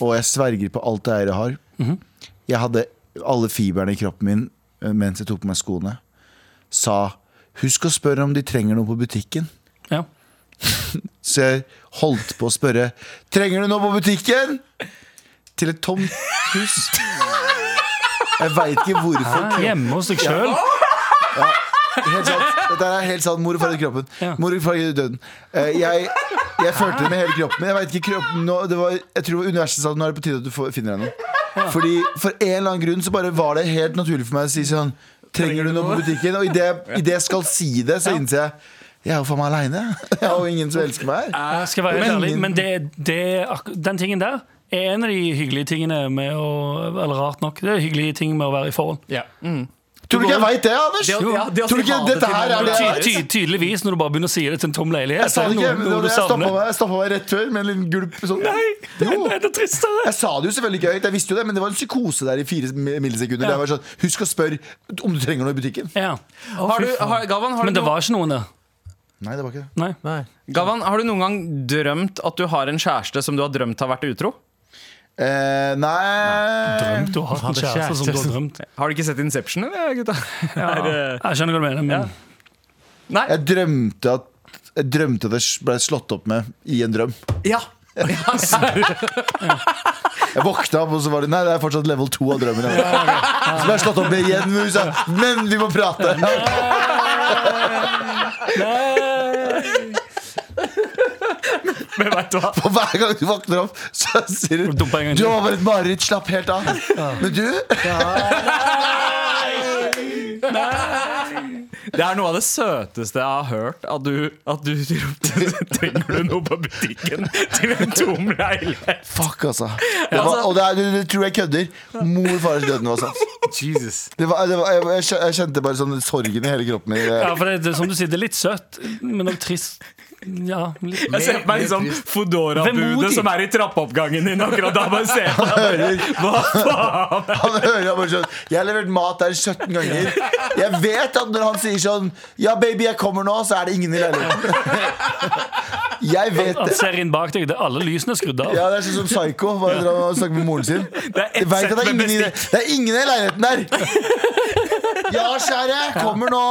Og jeg sverger på alt det eiere har. Jeg hadde alle fiberne i kroppen min eh, mens jeg tok på meg skoene. Sa 'husk å spørre om de trenger noe på butikken'.
Ja.
Så jeg holdt på å spørre 'trenger du noe på butikken?' til et tomt hus. Jeg veit ikke hvorfor.
Hjemme hos deg sjøl.
Helt sant. Dette er helt sant. Mor og far i kroppen.
Ja.
Mor og far i døden. Eh, jeg, jeg følte det med hele kroppen min. Jeg vet ikke kroppen nå, det var, Jeg tror universet sa nå er det på tide at du får- finner henne. Fordi For en eller annen grunn så bare var det helt naturlig for meg å si sånn Trenger du noe på butikken? Og idet jeg, i det jeg skal si det, så innser jeg jeg er jo faen meg aleine. <laughs> Jeg har jo ingen som elsker meg her.
Jeg skal være helt
Men-
ærlig, men det, det, akku- den tingen der er en av de hyggelige tingene med å Eller rart nok, det er hyggelige ting med å være i forhold.
Ja.
Tror du ikke jeg veit det, Anders?
Det å- ja, det å
Tror du
si ha
ikke
det
dette
til
her er
noen-
det
Ty,
jeg er?
ty, tydeligvis, når du bare begynner å si det til en tom leilighet.
Jeg sa det
er
ikke,
noe-
men
noe du
jeg stoppa
savner.
meg, jeg stoppet meg rett før med en liten gulp. Sånn. Jo.
Det er det tristere.
Jeg sa det jo selvfølgelig ikke høyt, jeg visste jo det, men det var en psykose der i fire millisekunder.
Ja.
Det var sånn, Husk å spørre om du trenger noe i butikken.
Ja.
Har du, har, Gavan, har
Men
du
det
noen,
var ikke noen der.
Nei, det var ikke det.
Nei.
Gavan, har du noen gang drømt at du har en kjæreste som du har drømt har vært utro?
Eh, nei
Drømt du har hatt en kjæreste som du har drømt.
Har du ikke sett Inception, eller, gutta?
Ja. Jeg skjønner hva du mener, men
Nei?
Jeg drømte at jeg drømte at jeg ble slått opp med i en drøm.
Ja. ja, ja.
Jeg våkna opp, og så var det Nei, det er fortsatt level 2 av drømmen. Så ble jeg slått opp med igjen. Men hun sa Men vi må prate!
Men vet du hva?
Og hver gang du våkner opp, så sier hun Du
Dumpa en gang til.
var bare et mareritt. Slapp helt av. Men du
Det er noe av det søteste jeg har hørt. At du, at du <laughs> ropte 'trenger du noe på butikken?' <laughs> til en tom leilighet.
Fuck, altså. Det var, og det, er, det, det tror jeg kødder. Mor og fars døden var sant.
Jesus.
altså. Det var, det var, jeg, jeg kjen- jeg kjente bare sånn sorgen i hele kroppen min.
Ja, for det, det, er som du sier, det er litt søtt, men også trist. Ja, litt.
<laughs> Jeg ser på meg liksom Foodora-budet
Vemodig.
som er i trappeoppgangen din akkurat da. Bare se på deg.
Hører, <laughs> han hører han bare sånn Jeg har levert mat der 17 ganger. Jeg vet at når han sier sånn Ja, baby, jeg kommer nå, så er det ingen i leiligheten. Jeg vet
Han
det.
ser inn bak deg, det er alle lysene er skrudd av.
Ja, Det er sånn som Psycho. Bare drar og snakker med moren sin.
Det er
Jeg
ett
vet
sett
at det er
med
ingen i,
bestikk.
det er ingen i leiligheten der. Ja, kjære. Kommer nå.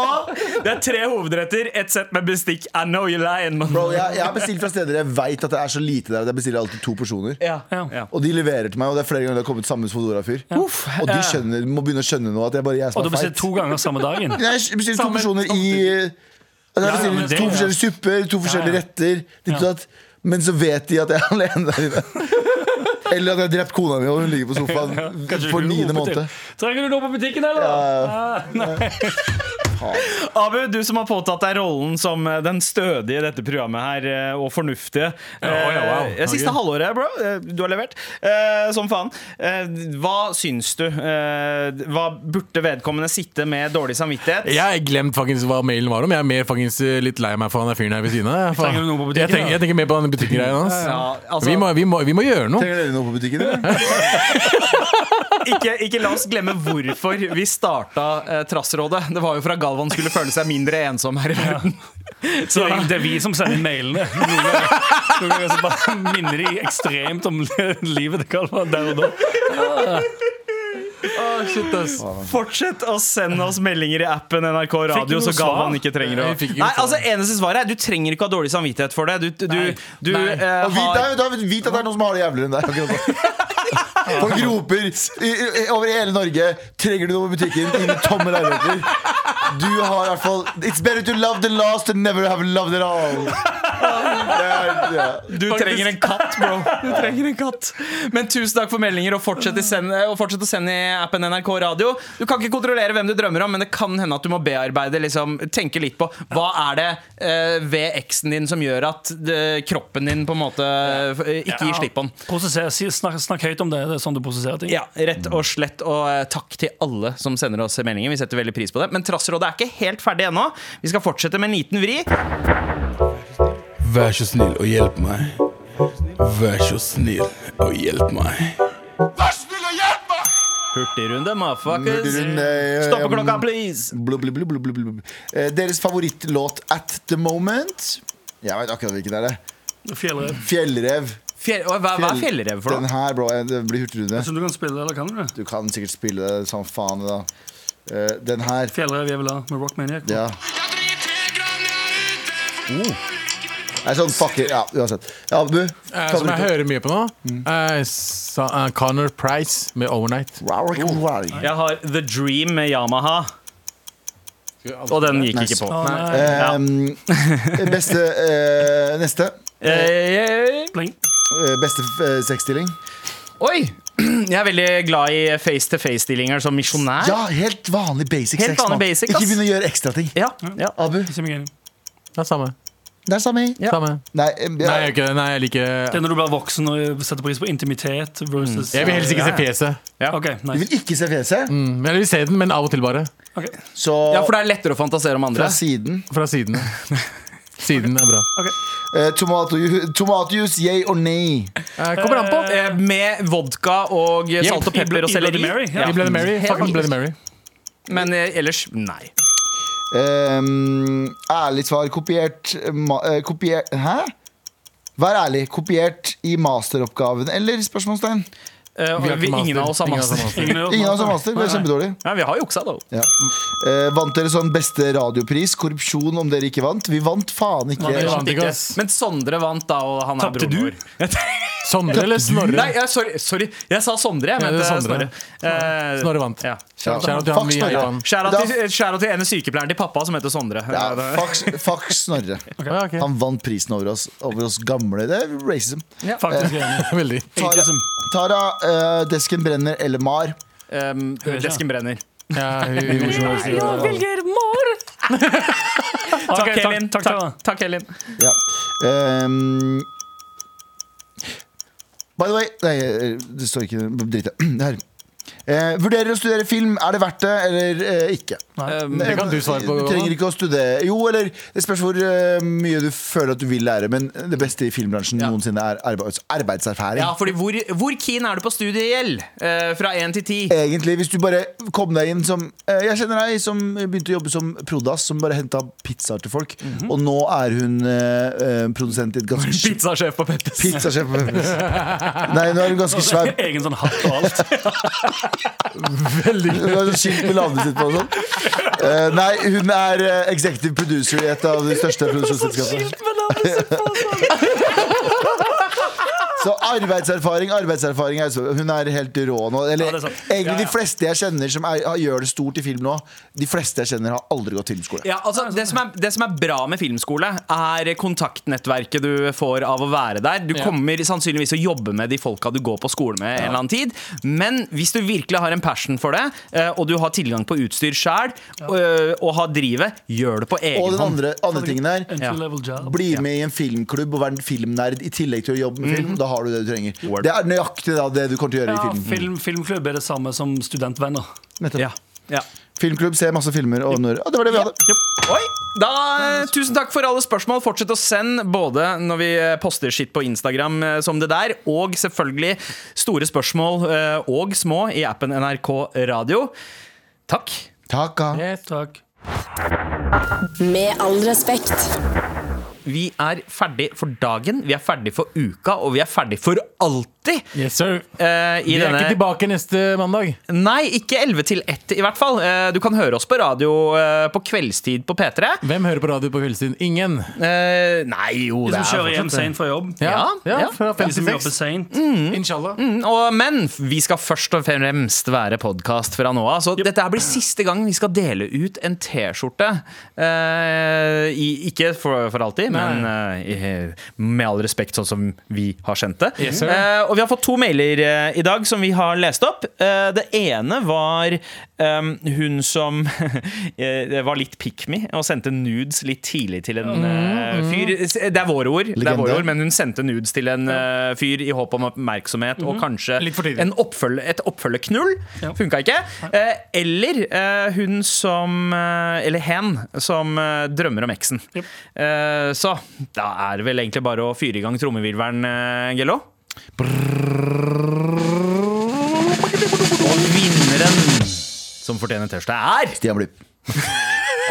Det er tre hovedretter, ett sett med bestikk. I know you're lying, man.
Bro, jeg, jeg har bestilt fra steder jeg veit at det er så lite der. at Jeg bestiller alltid to porsjoner.
Ja.
Ja.
Ja. Eh,
Og de leverer til meg, og det er flere ganger det har kommet samme Fodora-fyr. Og de skjønner, må begynne å skjønne nå at jeg bare jeg som
Og du
er
bestiller
feit.
to ganger samme dagen.
Nei, Jeg bestiller to
Samme-
porsjoner i
samme
Altså,
Ja, ja,
jeg
men
bestiller
det-
to forskjellige supper, to forskjellige
ja.
retter. Ditt og datt. sånn Men så vet de at jeg er alene der
<laughs>
inne. Eller at jeg har drept kona mi, og hun ligger på sofaen
Kanskje du
for
kunne
niende
rope til.
måned.
Trenger du noe på butikken, eller? Ah, nei.
Abu, du som har påtatt deg rollen som eh, den stødige i dette programmet her, eh, og fornuftige.
ja, wow.
Eh, Siste
Ok.
halvåret, bro. eh, Du har levert eh, som faen. Eh, Hva syns du? Eh, Hva burde vedkommende sitte med dårlig samvittighet?
Jeg har glemt faktisk hva mailen var om. Jeg er mer faktisk eh, litt lei meg for han der fyren her ved siden av. Jeg,
Trenger du noe på butikken,
jeg, tenker, jeg tenker mer på den butikkgreia hans.
Ja, altså-
vi, må, vi, må, vi må gjøre noe.
Trenger dere noe på butikken? Eller?
ikke, ikke la oss glemme hvorfor vi starta eh, Trassrådet. Det var jo for at Galvan skulle føle seg mindre ensom her i
<laughs>
verden.
Så det er- det er vi som sender mailene. Noen ganger, noen ganger så bare minner de ekstremt om livet til Kalvan der og da.
Ah,
Fortsett å sende oss meldinger i appen NRK Radio,
noe
så Galvan
svar?
ikke trenger å
Nei, vi fikk ikke
Nei,
svar.
altså Eneste svaret er du trenger ikke ha dårlig samvittighet for det. Du, du,
Nei.
du
Nei.
eh,
Og vit,
har
nei, da, vit at det er noen som har det jævligere enn deg. akkurat nå. Folk roper i, i, over hele Norge 'Trenger du noe på butikken?' innen tomme leiligheter. Du har i hvert fall It's better to love the last than never have loved at all. Det er, ja.
Du trenger en katt, bro. <laughs> Du trenger en katt Men tusen takk for meldinger, og fortsett, i send, og fortsett å sende i appen NRK Radio. Du kan ikke kontrollere hvem du drømmer om, men det kan hende at du må bearbeide liksom, Tenke litt på hva er det eh, ved eksen din som gjør at eh, kroppen din på en måte eh, ikke gir slipp på den.
Prosesser, si, snakk, snakk høyt om det. Det er sånn du prosesserer ting.
Ja, rett og slett. Og eh, takk til alle som sender oss meldinger. Vi setter veldig pris på det. Men Trassrådet er ikke helt ferdig ennå. Vi skal fortsette med en liten vri.
Vær så snill og hjelp meg. Vær så snill og hjelp meg.
Hurtigrunde, motherfuckers.
Hurtigrunde, eh,
Stopp
eh,
klokka, please.
Blub, blub, blub, blub, blub, blub. Eh, Deres favorittlåt at the moment Jeg vet akkurat hvilken det er det
Fjellrev.
Fjellrev
Fjell, Oi, hva, hva er fjellrev for
Den
noe?
her, bro, eh, det blir hurtigrunde
Som du kan spille, eller kan du det?
Du kan sikkert spille det som faen da Eh, Den her
Fjellrev jeg vil ha med Rock Maniac.
Ja Oh. Nei, sånn, fuck it, ja, uansett Ja, Abu,
Eh, som jeg hører mye på nå. Eh, sa, eh, Connor Price med 'Overnight'.
Oh.
hører
Jeg har The Dream med Yamaha, og den gikk ikke på.
Ah.
Å, nei.
Um,
<laughs>
Beste, eh, neste
Eh,
Bling.
Eh, Beste eh, sexstilling
oi! <clears throat> Jeg er veldig glad i face-to-face-stillinger som misjonær.
Ja, helt vanlig basic
Helt
sex
vanlig
mann.
basic,
Ikke
ass.
begynne å gjøre ekstra ting
Ja, ja.
Abu,
Ikke meg enig.
Det er samme.
det er samme
Ja.
samme.
Nei, eh, ja.
Nei, jeg, gjør ikke det. nei, jeg
Det er
liker
når du blir voksen og setter pris på intimitet versus
Jeg vil helst ikke se fjeset.
Ok,
Du
nice.
vil ikke se fjeset,
Mm, men jeg vil se den, men av og til bare.
Ok,
så
ja, for det er lettere å fantasere om andre.
fra siden.
Fra siden. Siden er bra.
ok.
Eh, tomatju- Tomatjuice, yay or nay?
Eh, kommer an på.
Eh, Med vodka og salt og
i Blo-
pepper og
i Bloody
selleri.
Mary, ja.
I Bloody Mary.
Helt
Fucking
riktig.
Mm. Bloody Mary.
Men eh, ellers nei.
Ehm, ærlig svar. Kopiert eh, ma eh, Kopiert Hæ? Vær ærlig. Kopiert i masteroppgaven eller? spørsmålstegn
Eh, og
Vi har ikke
vi, ingen
master.
av oss har
Ingen av oss har
master.
master.
Ingen
Ingen av oss har master. Det er kjempedårlig.
<laughs> Ja, vi har juksa, da.
Ja. Eh, vant dere sånn beste radiopris? Korrupsjon om dere ikke vant? Vi vant faen ikke.
vi vant.
Ikke.
ass.
Men Sondre vant, da, og han er
Tapte
broren
du?
vår.
Sondre eller Snorre?
Nei, ja, sorry, sorry. Jeg sa Sondre. Jeg
Ja, det er
mente Snorre.
Sondre.
Eh,
Snorre vant.
Ja.
Ja.
Shout out til han
Fuck
vi
Snorre.
heier på han.
Skjæra
Da-
til, skjæra til ene sykepleieren til pappa som heter Sondre.
Ja,
Eh, det-
fuck, fuck Snorre.
Ja, <laughs> ok.
Han vant prisen over oss, over oss gamle. Det er racism.
Faktisk enig.
Veldig.
Tara,
Ageism.
Tara eh, desken brenner eller Mar?
Um, desken brenner.
Ja, hun- hun- hun-
Jeg velger mor!
Takk,
Ok,
Elin.
Takk,
Takk,
takk,
takk, Elin.
Ja. Ehm, by the way Nei, eh, det står ikke Drit i det. Her. <clears throat> Eh, vurderer å studere film. Er det verdt det, eller eh, ikke?
Um,
Ehm, Det kan du svare på.
Du trenger ikke å studere Jo, eller det spørs hvor eh, mye du føler at du vil lære, men det beste i filmbransjen
Ja.
noensinne er arbeids arbeidserfaring.
ja, fordi hvor, hvor keen er du på studiegjeld? Eh, fra én til ti?
Egentlig, hvis du bare kom deg inn som eh, Jeg kjenner deg som begynte å jobbe som prodass, som bare henta pizzaer til folk.
Mhm.
Og nå er hun eh, eh, produsent i et ganske
Pizzasjef på Peppes.
Pizzasjef på Peppes. Nei, nå er hun ganske svær.
Egen sånn hatt og alt.
Hun har sånn skilt med navnet sitt på og sånn. Eh, nei, hun er eh, executive producer
sånn
i et av de største produksjonsselskapene. Så arbeidserfaring, arbeidserfaring er så- Hun er helt rå nå. Eller
Ja, det er sant.
egentlig
Ja, ja.
de fleste jeg kjenner som er, har- gjør det stort i film nå, de fleste jeg kjenner har aldri gått filmskole.
Ja, altså, det, som er, det som er bra med filmskole, er kontaktnettverket du får av å være der. Du
Ja.
kommer sannsynligvis å jobbe med de folka du går på skole med en eller annen tid. Men hvis du virkelig har en passion for det, eh, og du har tilgang på utstyr sjæl, og har drivet, gjør det på
Og
egen
den
hånd.
andre, andre tingen der
Entry level job.
bli med i en filmklubb og være en filmnerd i tillegg til å jobbe med film. Da har du det du trenger. Det er nøyaktig da, det du kommer til å gjøre
Mhm. Ja,
i filmen.
film, filmklubb er det samme som studentvenner.
Nettopp.
Ja. Ja.
Filmklubb, se masse filmer. Og når, Å, det var det vi hadde.
Oi! Da, eh, tusen takk for alle spørsmål. Fortsett å sende både når vi eh, poster shit på Instagram eh, som det der, og selvfølgelig store spørsmål eh, og små i appen NRK Radio. Takk.
Takk, ja.
Takk.
Med all respekt.
Vi er ferdig for dagen, vi er ferdig for uka, og vi er ferdig for alltid.
Yes, sir.
eh, i
Vi er
denne-
ikke tilbake neste mandag.
Nei, ikke 11 til 1 i hvert fall. Eh, Du kan høre oss på radio eh, på kveldstid på P3.
Hvem hører på radio på kveldstid? Ingen.
Eh, Nei, jo,
De
det
som
er
kjører hjem seint fra jobb.
Ja,
ja,
ja.
Fra
De som jobber
56.
sent.
Inshallah.
Mm. og, men vi skal først og fremst være podkast fra nå av. Så dette her blir siste gang vi skal dele ut en T-skjorte. Eh, i- ikke for, for alltid, men eh, i- med all respekt, sånn som vi har kjent det.
Yes, sir.
Eh, og vi har fått to mailer eh, i dag som vi har lest opp. Eh, det ene var em, hun som <laughs> eh, var litt pick me og sendte nudes litt tidlig til en
Mm,
eh, fyr. Det er våre ord, det er våre
Legende.
ord men hun sendte nudes til en eh, fyr i håp om oppmerksomhet og kanskje
Mhm. Litt for tidlig.
en oppfølge, et oppfølgeknull. Funka ikke. Eh, eller eh, hun som eh, Eller hen som eh, drømmer om eksen. Eh, så da er det vel egentlig bare å fyre i gang trommevirvelen, eh, Gello. Og vinneren som fortjener T-skjorte, er
Stian Blipp.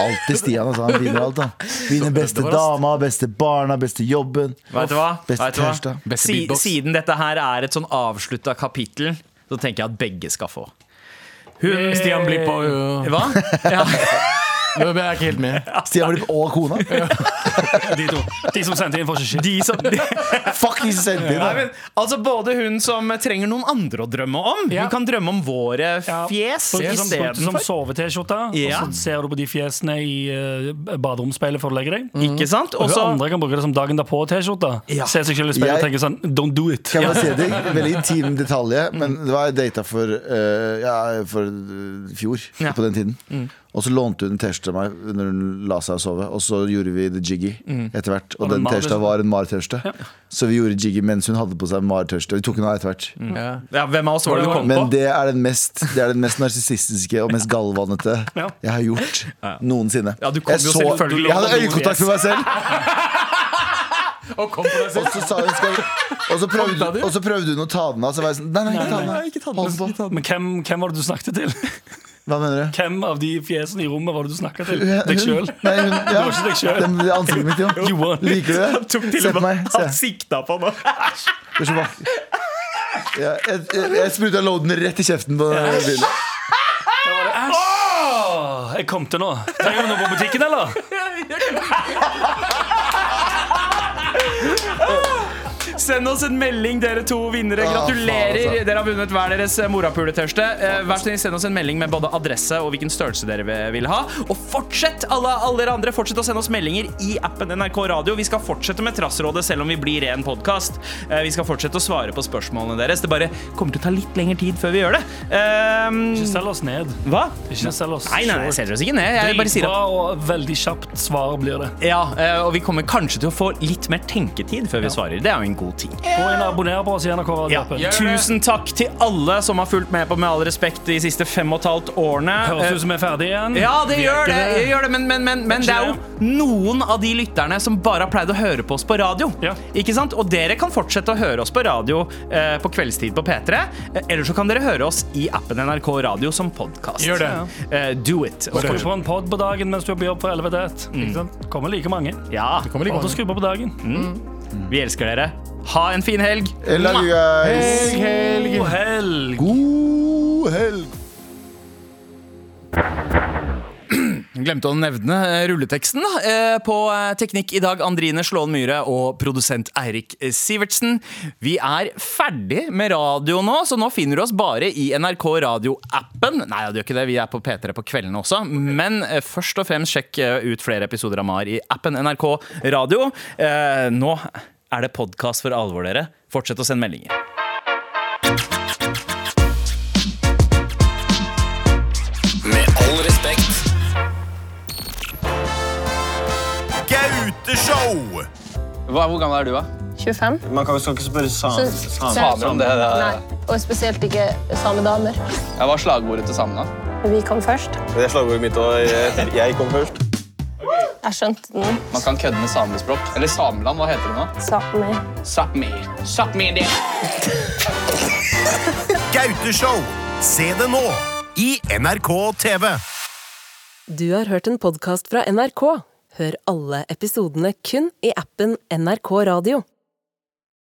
Alltid Stian. Altså. Han vinner alt. da Vinner beste dama, beste barna, beste jobben.
Vet du hva?
Beste
Vet du hva?
tirsdag.
Beste
Si,
beatbox.
siden dette her er et sånn avslutta kapittel, så tenker jeg at begge skal få. Hun,
Stian Blipp og øh,
Hva? <laughs> Ja.
Jeg er ikke helt med.
Stian Blipp og kona.
De to. De som sendte inn, får ikke shit.
De som,
Fuck, de som sendte
Nei,
inn. da.
men, altså Både hun som trenger noen andre å drømme om.
Ja.
Hun kan drømme om våre fjes
Brukte som, brukte som
istedenfor.
sove-T-skjorte,
Ja.
og så ser du på de fjesene i eh, baderomsspeilet før du legger deg.
Ikke sant?
Og
Og så
andre kan bruke det som dagen derpå-T-skjorte.
Mm. Ja.
Se seg selv i speilet og
Jeg-
tenke sånn Don't do it.
Kan jeg bare si en ting? Veldig intim detalj, men
Mm.
det var data for eh, Ja, for eh, fjor.
Ja. Mm.
På den tiden. Og så lånte hun en T-skjorte av meg når hun la seg og sove. Og så gjorde vi The Jiggy
Mm.
etter hvert. Og
det
den
Mar-
T-skjorta var en Mar-T-skjorte. Så vi gjorde Jiggy mens hun hadde på seg en Mar-T-skjorte. Vi tok den av etter hvert.
Ja.
Mm. ja, Hvem av oss var det du kom
Men
på?
det er den mest, det er den mest narsissistiske og mest galvanete
Ja.
jeg har gjort noensinne.
Ja, du kom
jeg,
jo selvfølgelig
jeg hadde
over noen
øyekontakt med meg selv,
Og kom på deg selv.
og så, sa hun, skal, og, så prøvde, og så prøvde hun å ta den av. Så var jeg sånn Nei, nei, ikke ta den av. Hold på.
Men hvem, hvem var det du snakket til? <laughs>
Hva mener du?
Hvem av de fjesene i rommet var det du snakket til?
Hun-
Deg sjøl?
Nei, hun, ja.
var ikke deg selv.
Den, det ansiktet mitt,
You
<laughs> jo.
want it.
Liker <laughs> du
Tok
det?
til
Se
og
på meg.
med
Se.
Han sikta på noe.
Du er så vakker. Ja, jeg jeg, jeg spruta loaden rett i kjeften på den bilen.
Åh, jeg kom til nå. Trenger du noe på butikken, eller?
Send oss en melding, dere to vinnere.
Ah, faen,
Gratulerer.
altså.
Dere har vunnet hver deres morapuletørste. Vær så snill, send oss en melding med både adresse og hvilken størrelse dere vil ha. Og fortsett, alle, alle dere andre, fortsett å sende oss meldinger i appen NRK Radio. Vi skal fortsette med Trassrådet selv om vi blir ren podkast. Vi skal fortsette å svare på spørsmålene deres. Det bare kommer til å ta litt lengre tid før vi gjør det.
Ikke
Eh,
selg oss ned.
hva?
Ikke selg oss
Nei, nei, nei, jeg selger oss ikke ned. Jeg bare sier at
Dritbra og veldig kjapt svar blir det.
ja, eh, og vi kommer kanskje til å få litt mer tenketid før vi svarer. Det er jo en god ting.
Gå inn og abonner på oss i NRK
Ja.
Radio-appen.
Tusen takk til alle som har fulgt med på Med all respekt de siste fem og et halvt årene.
Høres
Eh,
ut som vi er ferdige igjen.
Ja, det gjør det,
ikke
det gjør det. Men, men, men, men det er jo noen av de lytterne som bare har pleid å høre på oss på radio.
Ja.
Ikke sant? Og dere kan fortsette å høre oss på radio eh, på kveldstid på P3. Eh, eller så kan dere høre oss i appen NRK Radio som podkast.
Gjør det.
Eh, do it. Og
Skru på en pod på dagen mens du er på jobb fra 11 til 1. Ikke sant? Kommer like mange.
Ja,
Kommer like
Og
mange.
skru på på dagen.
vi elsker dere. Ha en fin helg.
I love you guys.
God helg!
God helg.
Glemte å nevne eh, rulleteksten. da. Eh, På eh, Teknikk i dag, Andrine Slåen Myhre og produsent Eirik eh, Sivertsen. Vi er ferdig med radio nå, så nå finner du oss bare i NRK Radio-appen. Nei, det gjør ikke det, vi er på P3 på kveldene også. Men eh, først og fremst sjekk eh, ut flere episoder av MAR i appen NRK Radio. Eh, Nå er det podkast for alvor, dere. Fortsett å sende meldinger.
Med all respekt.
hvor gammel er du, da?
25.
Man kan, skal ikke spørre
Så-
samer.
så- Nei, og spesielt ikke samedamer.
Jeg var slagordet til samene.
Vi kom først.
Det er slagordet mitt, og jeg, jeg kom først.
Jeg skjønte den.
Man kan kødde med samespråk. Eller Sameland, hva heter det nå?
Sápmi.
Sápmi. Sápmi det.
Gauteshow. Se det nå i NRK TV.
Du har hørt en podkast fra NRK. Hør alle episodene kun i appen NRK Radio.